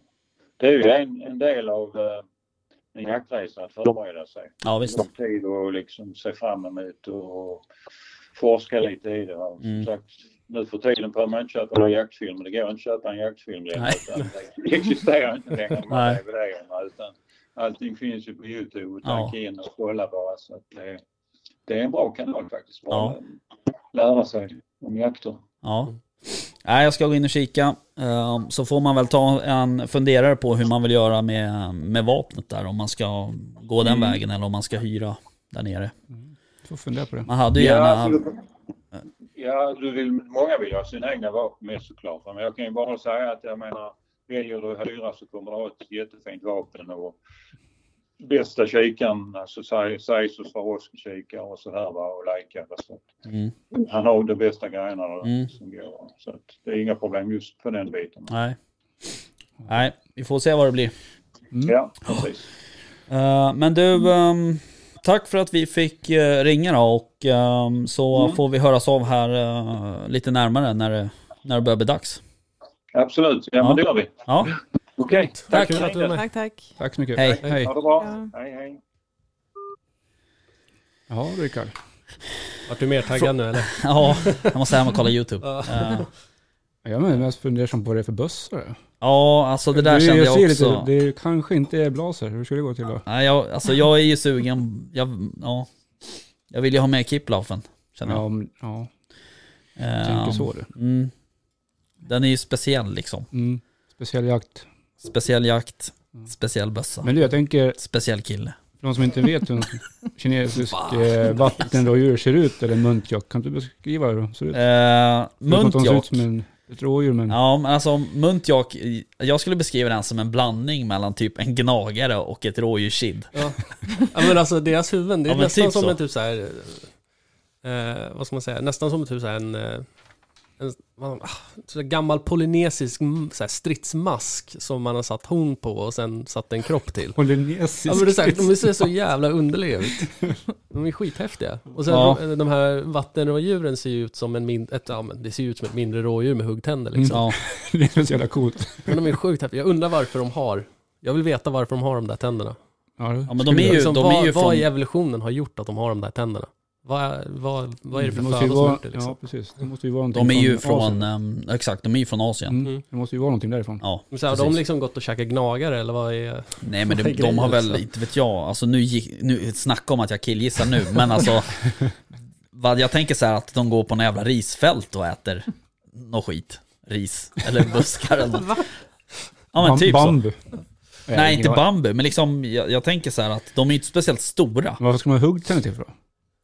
E: det är ju en, en del av eh, en jaktresa att förbereda sig
A: Ja, visst.
E: lång tid och liksom se fram emot och forska lite i det. va. Som
A: Mm.
E: sagt, nu för tiden behöver man inte köpa några jaktfilmer. Det går inte att köpa en jaktfilm längre.
A: Nej.
E: utan Det existerar inte längre de
A: [LAUGHS] Nej.
E: här DVD-erna, utan Allting finns ju på Youtube och
A: Ja.
E: tacka in och kolla bara. Så att det, det är en bra kanal faktiskt. Bara
A: Ja.
E: lära sig om jakter.
A: Ja. Nej, jag ska gå in och kika. Ehm, Så får man väl ta en funderare på hur man vill göra med, med vapnet där. Om man ska gå den
E: Mm.
A: vägen eller om man ska hyra där nere.
B: Du får fundera på det.
A: Man hade ju
E: Ja,
A: gärna...
E: alltså, ja du vill, många vill ju ha sina egna vapen med såklart. Men jag kan ju bara säga att jag menar, väljer du att hyra så kommer du ha ett jättefint vapen. Och bästa kikaren, alltså Sei- Seisers Swarovski-kikare och så här va, och Leica. va, så att
A: Mm,
E: Han har de bästa grejerna då,
A: Mm.
E: som går. Så att det är inga problem just på den biten.
A: nej. nej, vi får se vad det blir.
E: Ja, precis.
A: Eh, Men du, ehm, tack för att vi fick eh, ringa då och ehm, så
E: Mm.
A: får vi höras av här eh, lite närmare när det, när det börjar bli dags.
E: Absolut, ja,
A: Ja.
E: men det gör vi.
A: Ja, [LAUGHS]
E: Okej,
C: Tack,
A: Tack.
C: för att du var med.
D: Tack, tack.
B: Tack så mycket.
A: Hej.
B: Hej.
E: ha det bra.
D: Ja.
E: Hej, hej.
B: Ja, Rickard.
C: Vart du mer taggad nu eller?
A: ja jag måste hem och kolla YouTube.
C: Ja.
A: Eh,
B: Jag är mest fundersam på vad det är för bussar.
A: Ja, alltså det där
B: du,
A: kände jag
B: ser
A: också.
B: Lite, det kanske inte är blaser. Hur skulle det gå till då?
A: Nej, jag, alltså jag är ju sugen. Jag, ja, jag vill ju ha med Kipplaufen, känner jag.
B: Ja, men, ja
A: Ehm,
B: tänker så du.
A: Mm. Den är ju speciell liksom.
B: Mm. Speciell jakt.
A: Speciell jakt,
B: Mm.
A: speciell bössa,
B: Men du, jag tänker,
A: speciell kille.
B: för de som inte vet hur en kinesisk eh, vattenrådjur ser ut, eller muntjock, kan du beskriva hur de ser ut?
A: Eh,
B: Förutom att de ser ut
A: muntjak.
B: som en, ett rådjur, men
A: Ja, men alltså muntjak, jag skulle beskriva den som en blandning mellan typ en gnagare och ett rådjurskid.
C: Ja. ja men alltså deras huvuden, det är
A: Ja, men
C: nästan
A: typ
C: som
A: så.
C: en typ så här, eh, vad ska man säga, nästan som typ så här en, eh, en vad, ah, så här gammal polynesisk mm, så här stridsmask som man har satt horn på och sen satt en kropp till.
B: polynesisk.
C: Ja, men det är så här, de ser så jävla underliga ut. De är skithäftiga. Och sen
A: Ja.
C: de- de här vattenrådjuren ser ju ut som en mindre, ett, ja, men det ser ju ut som ett mindre rådjur med huggtänder
B: Mm.
C: liksom.
A: Ja,
B: [LAUGHS] det är så jävla coolt.
C: Men de är sjukt häftiga. Jag undrar varför de har, jag vill veta varför de har de där tänderna.
B: Ja, det
A: Ja, men de
B: skulle
A: är
B: jag.
A: ju-
C: Liksom,
A: de
C: vad,
A: ju
C: vad
A: från-
C: i evolutionen har gjort att de har de där tänderna? Vad, vad, vad
A: Mm,
C: är det för
B: måste
C: föda
B: ju
C: som
B: vara-
C: har gjort det? Liksom?
B: Ja, precis. Det måste ju vara någonting
A: de är ju
B: Asien.
A: från, ehm, exakt, de är ju från Asien.
B: Mm. Det måste ju vara någonting därifrån.
A: Ja,
C: Men så här, har de
A: precis.
C: liksom gått och käkat gnagare eller vad är...
A: Nej men de,
C: Vad är
A: de har
C: grejen,
A: väl,
C: alltså?
A: inte vet jag, alltså nu, gick, nu snacka om att jag killgissar nu,
B: [LAUGHS]
A: men alltså vad jag tänker så här att de går på en jävla risfält och äter något skit. Ris, eller
B: [LAUGHS]
A: buskar eller något. Ja men
B: Bam-
A: typ så.
B: bambu.
A: Nej inte
B: bambu.
A: bambu, men liksom jag, jag tänker så här att de är inte speciellt stora.
B: Varför ska man ha huggtänder till för då?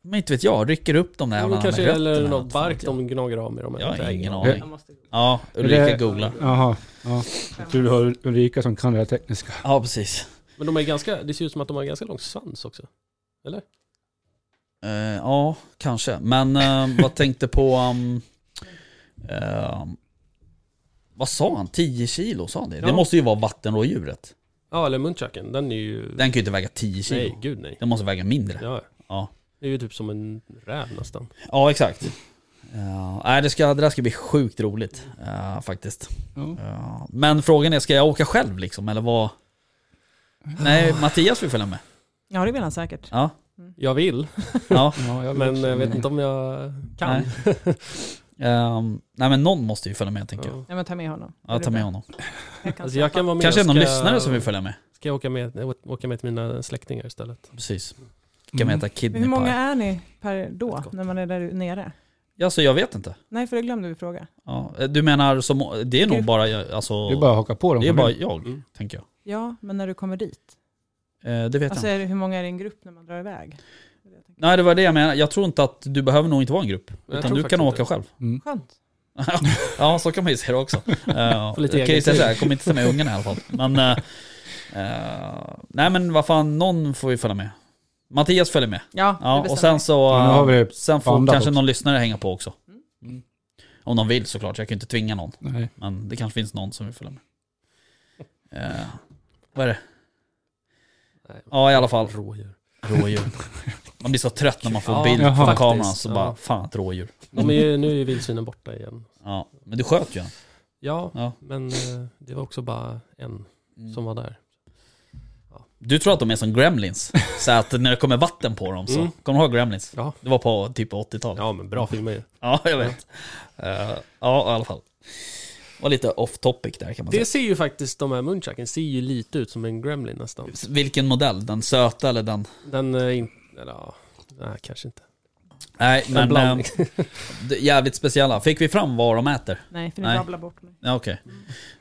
A: Men inte vet jag, rycker upp de där
C: Ja,
A: jävlarna med
C: de kanske, eller
A: rötterna,
C: något
A: vad fan
C: bark
A: vet jag.
C: de gnager av med. De
A: Jag har ingen
B: Ja.
A: aning. Ja,
B: Är
A: Ulrika
B: det-
A: googlar.
B: Jaha. Ja. Jag tror du har Ulrika som kan det här tekniska.
A: Ja precis.
C: Men de är ganska, det ser ut som att de har ganska lång svans också.
A: Eh, ja, kanske. Men eh, vad tänkte på... um, eh, vad sa han? 10 kilo sa han det? Det
C: Ja.
A: måste ju vara vattenrådjuret.
C: Ja, eller muntjacken, den är ju...
A: Den kan ju inte väga 10 kilo.
C: nej, gud nej.
A: Den måste väga mindre.
C: Ja.
A: Ja.
C: Det är ju typ som en räv nästan.
A: Ja, exakt. Eh, nej, det, ska, det där ska bli sjukt roligt eh, faktiskt.
B: Ja.
A: Eh, men frågan är, ska jag åka själv liksom? Eller vad? Nej, Mattias vill följa med.
D: Ja, det vill han säkert.
A: Ja,
C: Jag vill,
A: ja.
B: Ja, jag
C: men jag vet inte om jag kan.
A: [LAUGHS] Eh, nej men någon måste ju följa med tänker jag.
C: Ja.
D: Ja, men ta med honom.
A: Ja, ta med honom.
D: Jag kan
C: Alltså
D: släppa.
C: jag kan vara med.
A: Kanske är det någon
C: Ska-
A: lyssnare som vill följa med.
C: Ska jag åka med, åka med till mina släktingar istället?
A: Precis. Kan
C: Mm.
A: man äta
D: Men
A: kidney
D: hur
A: pie?
D: många är ni per då,
A: Ett gott.
D: när man är där nere?
A: Ja, så jag vet inte.
D: Nej, för det glömde vi fråga.
A: Ja, eh, du menar, som, det är nog
D: Grupp.
A: bara jag, alltså,
B: Det är bara att haka på dem.
A: det är bara
B: bara...
A: jag,
C: Mm.
A: tänker jag.
D: Ja, men när du kommer dit?
A: Eh, det vet
D: Alltså
A: jag inte.
D: är det, hur många är det i en grupp när man drar iväg?
A: Nej, det var det jag menade. Jag tror inte att du behöver nog inte vara en grupp.
C: Jag
A: Utan
C: tror
A: du
C: faktiskt
A: kan
C: inte
A: åka
C: det.
A: själv. [LAUGHS]
B: Mm.
D: Skönt.
A: ja, så kan man ju se det
C: [LAUGHS]
A: också. Eh,
C: lite
A: jag kan ju
C: egen
A: säga
C: tid.
A: så här, jag kommer inte ta
C: [LAUGHS]
A: med ungarna i alla fall. Men, eh, eh, nej men vad fan, någon får ju följa med. Mattias följer med.
D: Ja,
A: Ja,
D: det
A: och
D: bestämmer
A: sen
D: vi.
A: så,
B: Ja, nu har vi
A: eh,
B: det
A: sen får
B: bandat
A: kanske
B: också.
A: någon lyssnare hänga på också.
D: Mm.
B: Mm.
A: Om de vill såklart, jag kan ju inte tvinga någon.
B: Nej.
A: Men det kanske finns någon som vill följa med. Eh, vad är det?
C: Nej.
A: Ja i alla fall,
C: Rådjur.
A: rådjur. Man blir så trött när man får
C: Ja,
A: bild
B: jaha.
A: från
C: faktiskt.
A: kameran så
C: Ja.
A: bara fan ett rådjur.
C: De är ju, nu är ju vildsvinen borta igen.
A: Ja, men du sköt ju en.
C: Ja,
A: Ja.
C: men eh, det var också bara en som var där.
A: Du tror att de är som gremlins? Så att när det kommer vatten på dem så,
C: Mm.
A: kommer du ihåg gremlins?
C: Ja.
A: Det var på typ 80-talet. Ja.
C: Ja, men bra filmer ju.
A: jag vet. Eh, ja i alla fall. Var lite off topic där kan man
C: Det ser ju faktiskt, de här munchaken ser ju lite ut som en gremlin nästan.
A: säga. Vilken modell? Den söta eller den?
C: Den är inte, eller ja, nej kanske inte.
A: Nej
C: En
A: men,
C: blandning.
A: eh, [LAUGHS] det- jävligt speciella. Fick vi fram vad de äter?
D: Nej, för ni
A: Nej.
D: babblar bort mig.
A: Ja okej.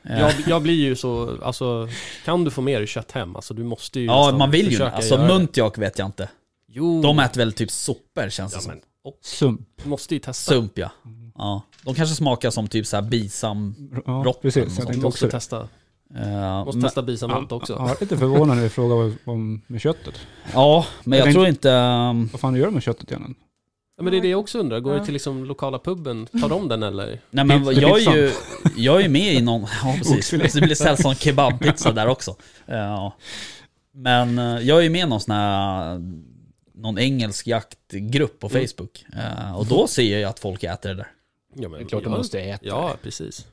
A: Eh,
C: Jag, jag blir ju så, alltså kan du få med dig kött hem, alltså du måste ju
A: Ja,
C: nästan
A: man vill ju
C: försöka
A: Alltså
C: göra det.
A: muntjak vet jag inte.
C: Jo,
A: De äter väl typ sopor känns det
C: ja,
A: som.
C: men
B: Sump.
C: du Alltså, måste ju testa.
A: Sump ja. ja. De kanske smakar som typ så här bisam.
B: Ja,
A: Rotten och
B: precis.
A: sånt.
B: Jag
C: Du
B: tänkte också
C: måste
B: det.
C: testa,
A: Eh,
C: måste
A: men,
C: testa bisamant också.
B: Ja, jag är lite förvånad när du frågar vad- om med köttet.
A: ja, men jag
B: Jag
A: tror inte... ehm,
B: Vad fan gör du med köttet egentligen?
C: Ja, men det är det jag också undrar, går
D: Ja.
C: du till liksom lokala puben, tar de den eller?
A: Nej men
B: Pizza-
A: jag är ju
B: pizzan.
A: jag är med i någon... Ja
B: Oxfilé.
A: precis. Så Det blir sällsamt kebabpizza där också. Eh, Ja. Men eh, jag är med i någon sån här... Någon engelsk jaktgrupp på
C: Mm.
A: Facebook. Eh, och då ser jag ju att folk äter det där.
C: Ja, men,
B: man äta.
C: Ja, precis.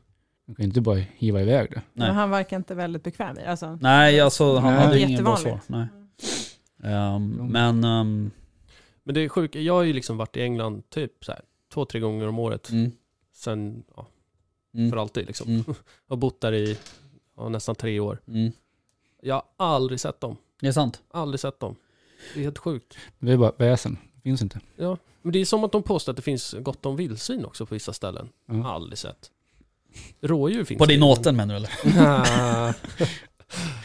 B: Du kan inte bara hiva iväg det.
A: Nej.
D: Men han verkar inte väldigt bekväm i alltså.
A: Nej alltså han
B: Nej.
A: hade ingen bra svar.
D: Jättevanligt.
A: Nej. Ehm, men... ehm,
C: Men det är sjukt, jag har ju liksom varit i England typ så här, två, tre gånger om året
A: mm,
C: sen, ja,
A: mm.
C: för alltid liksom.
A: Mm.
C: Och bott där i ja, nästan tre år.
A: Mm.
C: Jag har aldrig sett dem.
A: Det är sant.
C: Aldrig sett dem. Det är helt sjukt.
B: Det är bara väsen. Det finns inte.
C: Men det är som att de påstår att det finns gott om vildsvin också på vissa ställen.
B: Mm.
C: Aldrig sett. Rådjur finns
A: På din
C: det, men-
A: åten menar du eller?
C: Nja.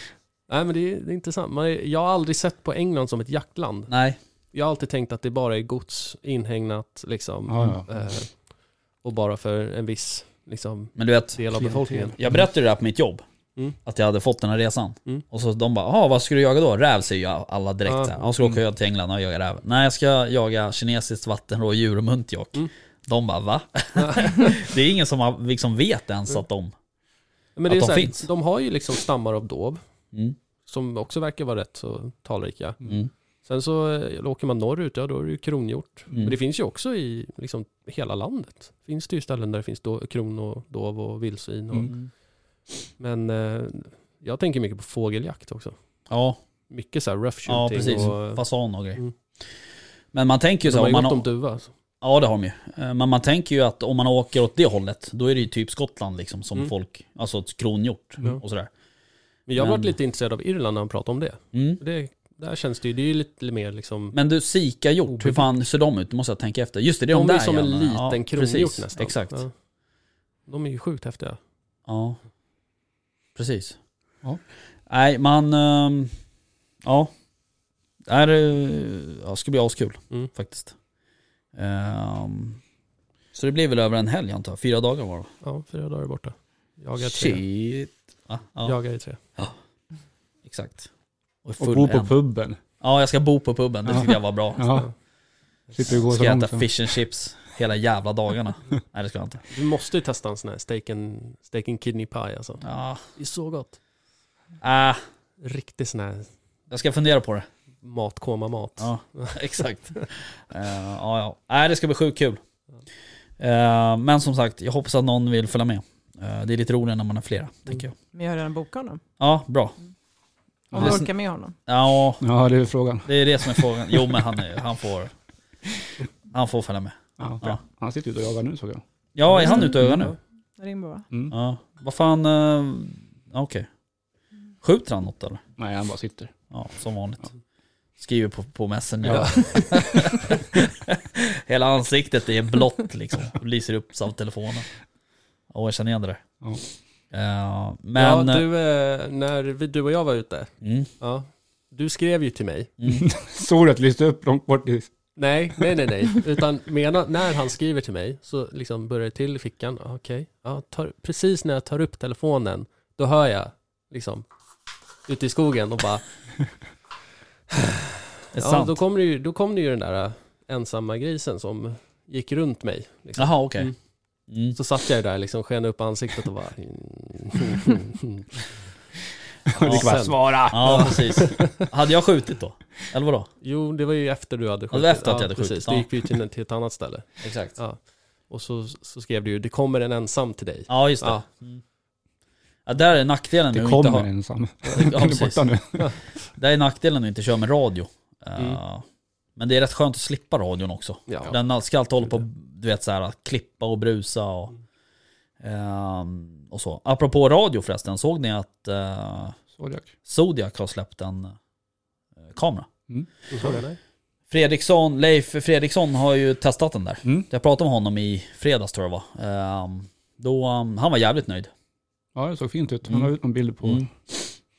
C: [LAUGHS] Nej men det är, det är intressant. Man är, jag har aldrig sett på England som ett jaktland.
A: Nej.
C: Jag har alltid tänkt att det bara är gods inhägnat liksom.
B: Ja, ja.
C: Eh, och bara för en viss liksom,
A: Men du vet,
C: del av befolkningen.
A: jag berättade ju det här på mitt jobb.
C: Mm.
A: Att jag hade fått den här resan.
C: Mm.
A: Och så de bara, "Jaha, vad ska du jaga då? Räv säger ju alla direkt.
C: Ja. Mm.
A: Ja. Han ska åka till England och jaga räv. Nej, jag ska jaga kinesiskt vattenrådjur och muntjock.
C: Mm.
A: De bara, va? [LAUGHS] det är ingen som har- liksom vet
C: Mm.
A: ens att de...
C: Men det
A: Att
C: är
A: de
C: så här,
A: finns.
C: de har ju liksom stammar av dov.
A: Mm.
C: Som också verkar vara rätt så talrika.
A: Mm.
C: Sen så eh, åker man norrut, ja då är det ju kronhjort.
A: Mm.
C: Men det finns ju också i liksom, hela landet. Finns det ju ställen där det finns då, kron och dov och vildsvin. Och,
B: Mm.
C: Men eh, jag tänker mycket på fågeljakt också.
A: Ja,
C: Mycket så här rough shooting.
A: ja, precis.
C: Och,
A: Fasan och grejer.
C: Mm.
A: Men man tänker ju
C: de
A: så här,
C: har
A: om
C: ju
A: man
C: gott
A: har-
C: om duva. Alltså.
A: Ja det har de ju. Eh, Men man tänker ju att om man åker åt det hållet, då är det ju typ Skottland liksom som
C: Mm.
A: folk, alltså ett kronhjort
C: Ja.
A: och sådär.
C: Men jag har varit
A: Men-
C: lite intresserad av Irland när han pratade om det.
A: Mm.
C: det där känns det ju, det är ju lite mer liksom...
A: Men du, sikahjort, hur fan ser de ut? Det måste jag tänka efter. Just det, det är de,
C: de är
A: där
C: ju som en
A: jävlarna.
C: liten
A: Ja,
C: kronhjort
A: precis.
C: nästan.
A: Exakt. Ja.
C: Ja. De är ju sjukt häftiga.
A: Precis.
B: Ja.
A: Nej, man... ehm, Ja. Det här eh, ja, det ska bli askul
C: Mm.
A: faktiskt. Ehm, så det blir väl över en helg antar jag? Fyra dagar var det va?
C: Ja, fyra dagar borta. Jagar i tre.
A: Ja, ja,
C: Jagar i tre.
A: exakt.
B: Och
A: full
B: bo på
A: en.
B: puben.
A: Ja, jag ska bo på puben. Det
B: Ja.
A: tyckte jag var bra.
B: Ja. Slipper gå så
A: Ska jag
B: långt.
A: äta fish and chips hela jävla
C: [LAUGHS]
A: dagarna? Nej det ska jag inte.
C: Du måste ju testa en sån här steak and, steak and kidney pie alltså.
A: Ja,
C: Det är så gott.
A: ah,
C: Riktig sån här
A: jag ska fundera på det.
C: matkoma-mat.
A: Ja, exakt. Eh, ja, ja. Nej det ska bli sjukt kul. Eh, men som sagt, jag hoppas att någon vill följa med. Eh, det är lite roligare när man är flera, tänker jag.
D: Men jag har redan bokat honom.
A: Ja, bra.
D: Om
A: Ja.
D: du orkar med honom.
A: Ja,
B: Ja, det är frågan.
A: det är det som är frågan. Jo men han, är, han, får, han får följa med.
B: Ja,
A: Ja.
B: Han sitter ute och jagar nu såg jag.
A: Ja, är han ute och ögar nu?
D: Rimbo va?
B: Mm.
A: Ja. Vad fan, eh, okej. Skjuter han något eller?
B: Nej, han bara sitter.
A: Ja, som vanligt. Skriver på, på messen.
B: Ja.
A: [LAUGHS] Hela ansiktet är blått liksom. Och lyser upp av telefonen. Åh, jag känner igen det där.
B: Ja.
A: Eh, men...
C: Ja, du, eh, när vi, du och jag var ute,
A: mm,
C: ja, du skrev ju till mig.
B: [LAUGHS]
A: mm,
B: Såg du att det lyste upp långt bort i...
C: Nej, nej, nej, nej. Utan mena, när han skriver till mig så liksom börjar det till i fickan. Ja, Okej, ja, tar, precis när jag tar upp telefonen, då hör jag liksom ute i skogen och
A: [LAUGHS]
C: bara,
A: det är
C: ja,
A: sant.
C: då kommer det ju, då kom det ju den där eh, ensamma grisen som gick runt mig. Liksom.
A: Jaha, okej.
C: Mm.
A: Mm.
C: Så satt jag ju där liksom, sken upp ansiktet och bara, [LAUGHS]
A: Ja,
B: [LAUGHS] det
C: sen.
B: svara!
A: Ja, precis. Hade jag skjutit då? Eller vadå?
C: jo, det var ju efter du hade
A: var
C: skjutit.
A: efter att jag hade skjutit,
C: precis.
A: ja.
C: Då gick vi ju till, till ett annat ställe.
A: Exakt.
C: Ja. Och så, så skrev du ju, det kommer en ensam till dig.
A: Ja, just det.
C: Ja.
A: Mm. Ja, där är nackdelen med
B: Det
A: att inte
B: kommer [LAUGHS]
A: ha...
B: ensam.
A: [LAUGHS] Ja,
B: Han är
A: precis.
B: borta nu.
A: Där är nackdelen med att inte köra med radio. Eh,
C: Mm.
A: Men det är rätt skönt att slippa radion också.
C: Ja.
A: Den ska alltid hålla på du vet, så här, att klippa och brusa och, ehm, och så. Apropå radio förresten, såg ni att eh,
B: Zodiac.
A: Zodiac har släppt en eh, kamera?
B: Mm.
C: Ja, nej.
A: Fredriksson, Leif Fredriksson har ju testat den där.
B: Mm.
A: Jag pratade med honom i fredags tror jag det var. Ehm, då, ehm, han var jävligt nöjd.
B: Ja, det såg fint ut. Han
A: Mm.
B: la ut någon bild på
A: Mm.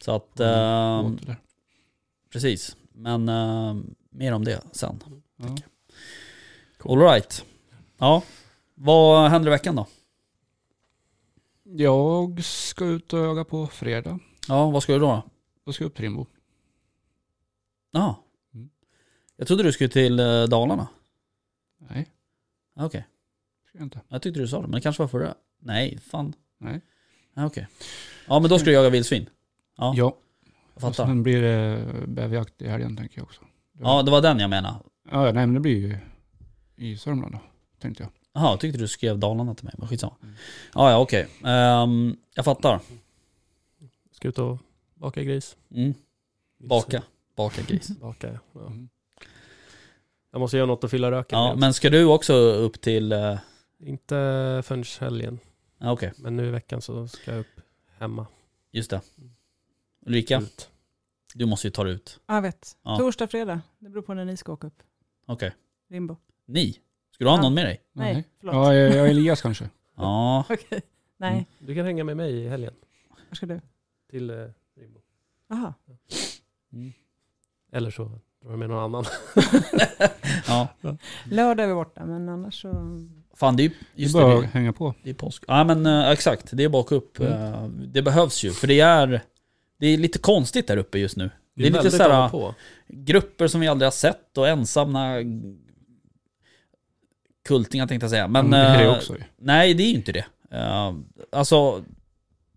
A: Så att,
B: Mm.
A: ehm,
B: båten där.
A: precis. Men ehm, mer om det sen.
B: Ja.
A: All right. Ja. Vad händer i veckan då?
B: Jag ska ut och jaga på fredag.
A: Ja, vad ska du då?
B: Då ska jag upp till Rimbo.
A: Ja.
B: Mm.
A: Jag trodde du skulle till eh, Dalarna. Ah,
B: Nej,
A: Okej.
B: ska jag inte.
A: Jag tyckte du sa det, men det kanske var förra. Nej, fan.
B: Nej.
A: Ja, Okej. Ja, men då ska du jaga vildsvin. Ja. alltså,
B: Ja,
A: Jag
B: och
A: fattar.
B: sen blir det bäverjakt i helgen tänker jag också.
A: Ja, det var den jag menade.
B: Ja, nej men det blir ju i Sörmland då, tänkte jag.
A: Jaha, jag tyckte du skrev Dalarna till mig, men skitsamma. Ja, ja, okej. Ehm, jag fattar.
C: Ska ut och baka gris.
A: Mm. Baka. Baka gris.
C: Baka, ja. ja.
B: Mm.
C: Jag måste göra något att fylla
A: [LAUGHS]
C: röken
A: Ja,
C: med.
A: men ska du också upp till... eh,
C: Inte förrän helgen,
A: ja, Okej.
C: men nu i veckan så ska jag upp hemma.
A: Just det. Ulrika,
C: Ut.
A: du måste ju ta dig ut.
D: Ja, jag vet.
A: Ja.
D: Torsdag, fredag. Det beror på när ni ska åka upp.
A: Okej.
D: Rimbo.
A: Ni? Ska du ha
D: Ja.
A: någon med dig?
D: Nej, förlåt.
B: Ja, jag, jag är Elias kanske.
A: Ja.
D: [LAUGHS] Okej.
A: Mm.
D: Nej,
C: Du kan hänga med mig i helgen
D: var ska du?
C: till eh, Rimbo.
D: Jaha.
C: Eller så drar du med någon annan.
A: ja.
D: Lördag är vi borta, men annars så...
A: Fan, det är ju...
B: Det är
A: [LAUGHS] Just det,
B: bara att
A: det,
B: hänga på.
A: det är påsk. Ja, men eh, exakt. Det är bak upp.
B: Mm.
A: Eh, Det behövs ju, för det är... Det är lite konstigt där uppe just nu. [LAUGHS] Det är lite
C: väldigt
A: så här-
C: av och på.
A: grupper som vi aldrig har sett och ensamma kultingar tänkte jag säga. Men,
B: Men, Mm, det är
A: eh,
B: det också ju.
A: nej, det är ju inte det. Eh, alltså,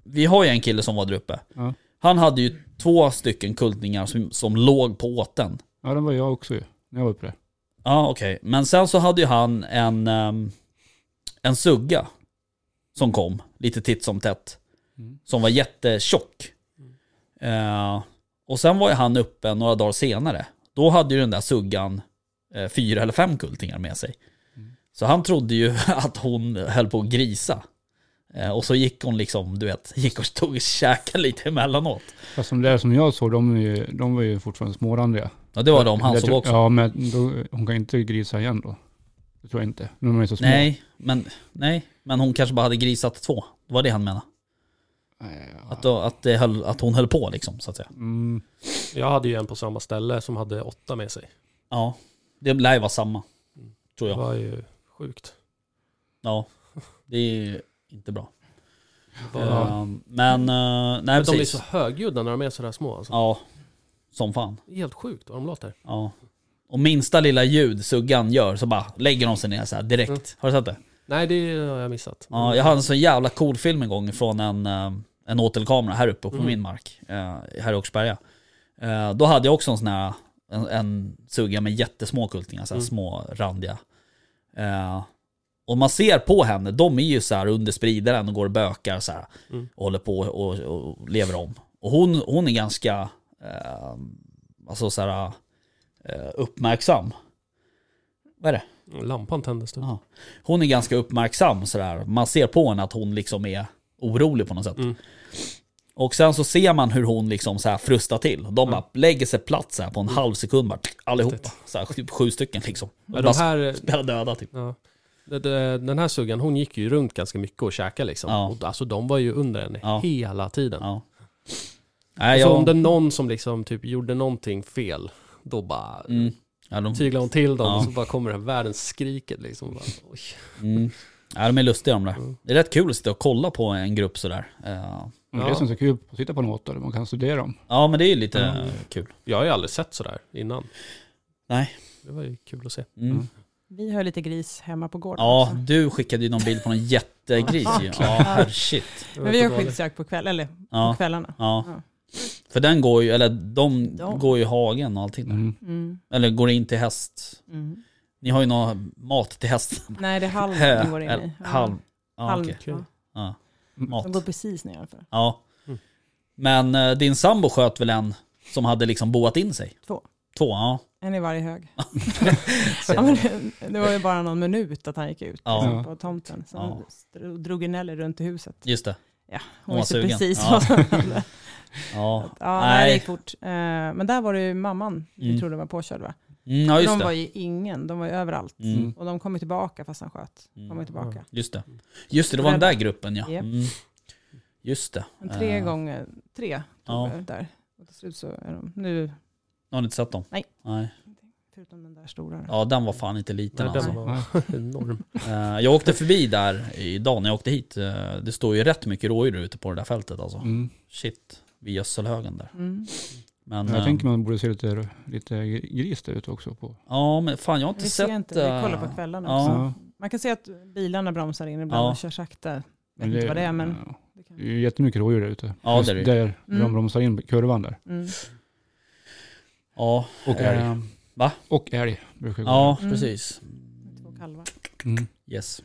A: vi har ju en kille som var där uppe.
B: Ja.
A: Han hade ju två stycken kultingar som, som låg på åten.
B: Ja, den var jag också ju. När jag var uppe där.
A: Ja, okej. Men sen så hade ju han en, ehm, en sugga som kom lite titt som tätt.
B: Mm.
A: Som var jättetjock. Eh, och sen var ju han uppe några dagar senare. Då hade ju den där suggan eh, fyra eller fem kultingar med sig.
B: Mm.
A: Så han trodde ju [LAUGHS] att hon höll på att grisa. Eh, och så gick hon liksom, du vet, gick och stod och käkade lite emellanåt.
B: Fast de där som jag såg, de, är ju, de var ju fortfarande smårandiga.
A: Ja, det var de han
B: Jag
A: såg
B: tror-
A: också.
B: Ja, men då, hon kan inte grisa igen då. Det tror jag inte. De är så små.
A: Nej, men, nej, men hon kanske bara hade grisat två. Det var det han menade.
B: Nej, ja.
A: Att, då, att, det höll, att hon höll på liksom, så att säga.
B: Mm,
C: Jag hade ju en på samma ställe som hade åtta med sig.
A: Ja, det lär ju vara samma. Tror
C: Det
A: jag.
C: var ju sjukt.
A: Ja, det är ju inte bra.
C: Det var,
A: Ehm, Men, eh, nej
C: men de är
A: precis.
C: så högljudda när de är sådär små. Alltså.
A: Ja, som fan.
C: Helt sjukt vad de låter.
A: Ja. Och minsta lilla ljud suggan gör så bara lägger de sig ner så här direkt.
C: Mm.
A: Har du sett det?
C: Nej, det har jag missat.
A: Ja, jag hade en så jävla cool film en gång från en, eh, en åtelkamera här uppe på
C: Mm.
A: min mark, eh, här i Åkersberga. Eh, Då hade jag också en sån här, en, en sugga med jättesmå kultingar, så här
C: Mm.
A: små randiga. Eh, Och man ser på henne, de är ju så här under spridaren och går och bökar så här,
C: Mm.
A: och håller på och, och, och lever om. Och hon, hon är ganska, eh, alltså så här, eh, uppmärksam. Vad är det?
C: Lampan tändes då.
A: Ja. Hon är ganska uppmärksam sådär. Man ser på henne att hon liksom är orolig på något sätt.
C: Mm.
A: Och sen så ser man hur hon liksom så här frustar till. De
C: Mm.
A: bara lägger sig platt så här på en halv sekund bara, allihopa. Så här, typ sju stycken liksom. [LAUGHS]
C: Ja,
A: bara
C: de här,
A: spelar döda typ.
C: ja. Det- det- Den här suggan, hon gick ju runt ganska mycket och käkade liksom.
A: Ja.
C: Och, alltså de var ju under henne
A: Ja.
C: hela tiden.
A: Ja. Nej,
C: Så om
A: jag,
C: det är någon som liksom typ gjorde någonting fel, då bara
A: mm, ja, de,
C: tyglar hon till dem
A: Ja.
C: och så bara kommer det här världens skriket liksom. Bara, oj.
A: mm, ja, de är lustiga de där.
C: Mm.
A: Det är rätt kul att sitta och kolla på en grupp sådär. Eh,
B: Det är det som är så kul, att sitta på en åtta, där man kan studera dem.
A: Ja, men det är ju lite
C: Mm.
A: eh, kul.
C: Jag har ju aldrig sett sådär innan.
A: Nej.
C: Det var ju kul att se.
A: Mm.
D: Vi har lite gris hemma på gården
A: Ja,
D: också.
A: du skickade ju någon bild på någon
C: [LAUGHS]
A: jättegris ju. Ja, herr shit.
C: Det var
D: Men vi har
C: inte dåligt.
D: skyddsjakt på kväll, eller
A: Ja.
D: på kvällarna.
A: Ja.
D: Ja.
A: För den går ju, eller de,
D: De.
A: går ju i hagen och allting där.
B: Mm.
D: Mm.
A: Eller går in till häst.
D: Mm.
A: Ni har ju någon mat till
D: [LAUGHS]
A: hästen.
D: Nej, det är halv
A: Hö-
D: den går in i.
A: eller Halm. Ja,
D: halv.
A: okej.
C: okej.
D: Ja.
A: Ja.
B: Mm.
A: Mat.
D: De går precis nedanför.
A: Ja.
C: Mm.
A: Men eh, din sambo sköt väl en som hade liksom boat in sig?
D: Två.
A: Två, ja.
D: En i varje hög. [LAUGHS] ja, men det, det var ju bara någon minut att han gick ut
A: Ja.
D: liksom, på tomten. Så
A: Ja.
D: han stro- drog en eller runt i huset.
A: Just det.
D: Hon
A: var
D: visste
A: sugen.
D: precis
A: Ja.
D: vad
A: [LAUGHS]
D: som hände.
A: Ja,
D: Ja, nej. det gick fort. Eh, Men där var det ju mamman vi
A: Mm.
D: trodde var påkörd va?
A: Mm, ja just
D: de var
A: det.
D: ju ingen, de var ju överallt.
A: Mm,
D: Och de kom ju tillbaka fast han sköt.
A: Mm.
D: Kom ju tillbaka.
A: just det. Just det, det var den där gruppen ja.
D: Japp.
A: Mm. Just det.
D: Men tre
A: Eh,
D: gånger, tre
A: Ja.
D: tog jag där. Och till slut så är de, nu,
A: Har ni inte sett dem?
D: Nej.
A: Nej.
D: förutom den där stora. då.
A: Ja, den var fan inte liten
C: Nej,
A: alltså.
C: den var [LAUGHS] enorm.
A: Eh, Jag åkte förbi där idag när jag åkte hit. Eh, Det står ju rätt mycket rådjur ute på det där fältet alltså.
B: Mm.
A: Shit, vid gödselhögen där.
D: Mm.
A: Men,
B: Jag
A: eh,
B: tänker man borde se lite, lite gris där ute också. På.
A: Ja men fan jag har inte
D: Vi
A: sett...
D: ser inte, vi kollar
A: eh,
D: på kvällarna
A: ja.
D: också. Man kan se att bilarna bromsar in ibland
A: Ja.
D: och kör sakta. vet inte vad det är, men-
B: ja,
D: Det kan-
B: det är ju jättemycket rådjur där ute.
A: Ja,
B: Just
A: det är det ju.
B: Där
D: Mm.
B: de bromsar in kurvan där.
D: Mm.
A: Ja,
B: Och älg.
A: eh, va?
B: Ehm, Och älg brukar gå.
A: ja
D: Mm.
A: precis.
D: Två kalvar.
B: Mm.
A: Yes.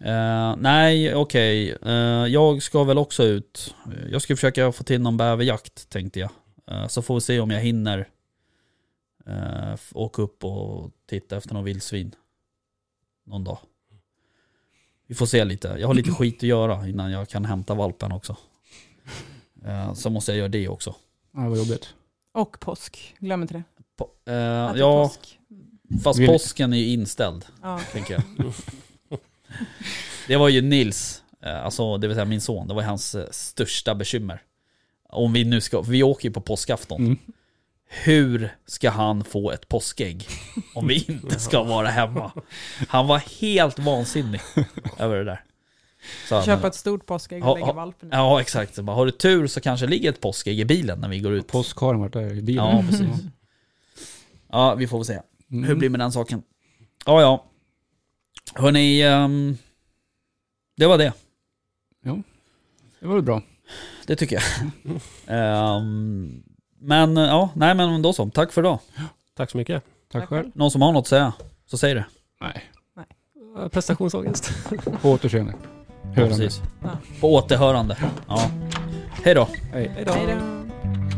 A: Eh, nej, okej. Eh, jag ska väl också ut. Eh, Jag ska försöka få till någon bäverjakt tänkte jag. Eh, så får vi se om jag hinner eh, f- åka upp och titta efter någon vildsvin. Någon dag. Vi får se lite. Jag har lite skit att göra innan jag kan hämta valpen också. Eh, så måste jag göra det också.
B: Ja, vad jobbigt.
D: Och påsk, glöm inte det.
A: Po- eh,
D: Att det är
A: ja,
D: påsk.
A: fast
B: Vill-
A: påsken är ju inställd,
D: Ja.
A: tänker jag. det var ju Nils, eh, alltså det vill säga min son, det var hans eh, största bekymmer. Om vi nu ska, vi åker ju på påskafton.
B: Mm.
A: Hur ska han få ett påskägg om vi inte ska vara hemma? Han var helt vansinnig över det där. Så han-
D: Köpa ett stort påskägg och
A: Ja,
D: lägga
A: ja.
D: valpen i.
A: Ja, exakt. Så Bara, har du tur så kanske det ligger ett påskägg i bilen när vi går ut.
B: Påskharen vart där i bilen.
A: Ja, precis. Ja, vi får väl se.
B: Mm.
A: Hur blir det med den saken? Ja, ja. Hörni, ehm, det var det.
B: Det var väl bra.
A: Det tycker jag. Ehm, men ja, nej men då så. Tack för idag.
C: Tack så mycket.
B: Tack,
D: Tack
B: själv.
A: Någon som har något att säga, så säg det.
B: Nej.
C: Eh, Prestationsångest.
B: På återseende.
A: Ja,
B: Hörande.
A: precis. På återhörande. Ja. Hej då.
B: Hej.
C: Hej då.
D: Hej då.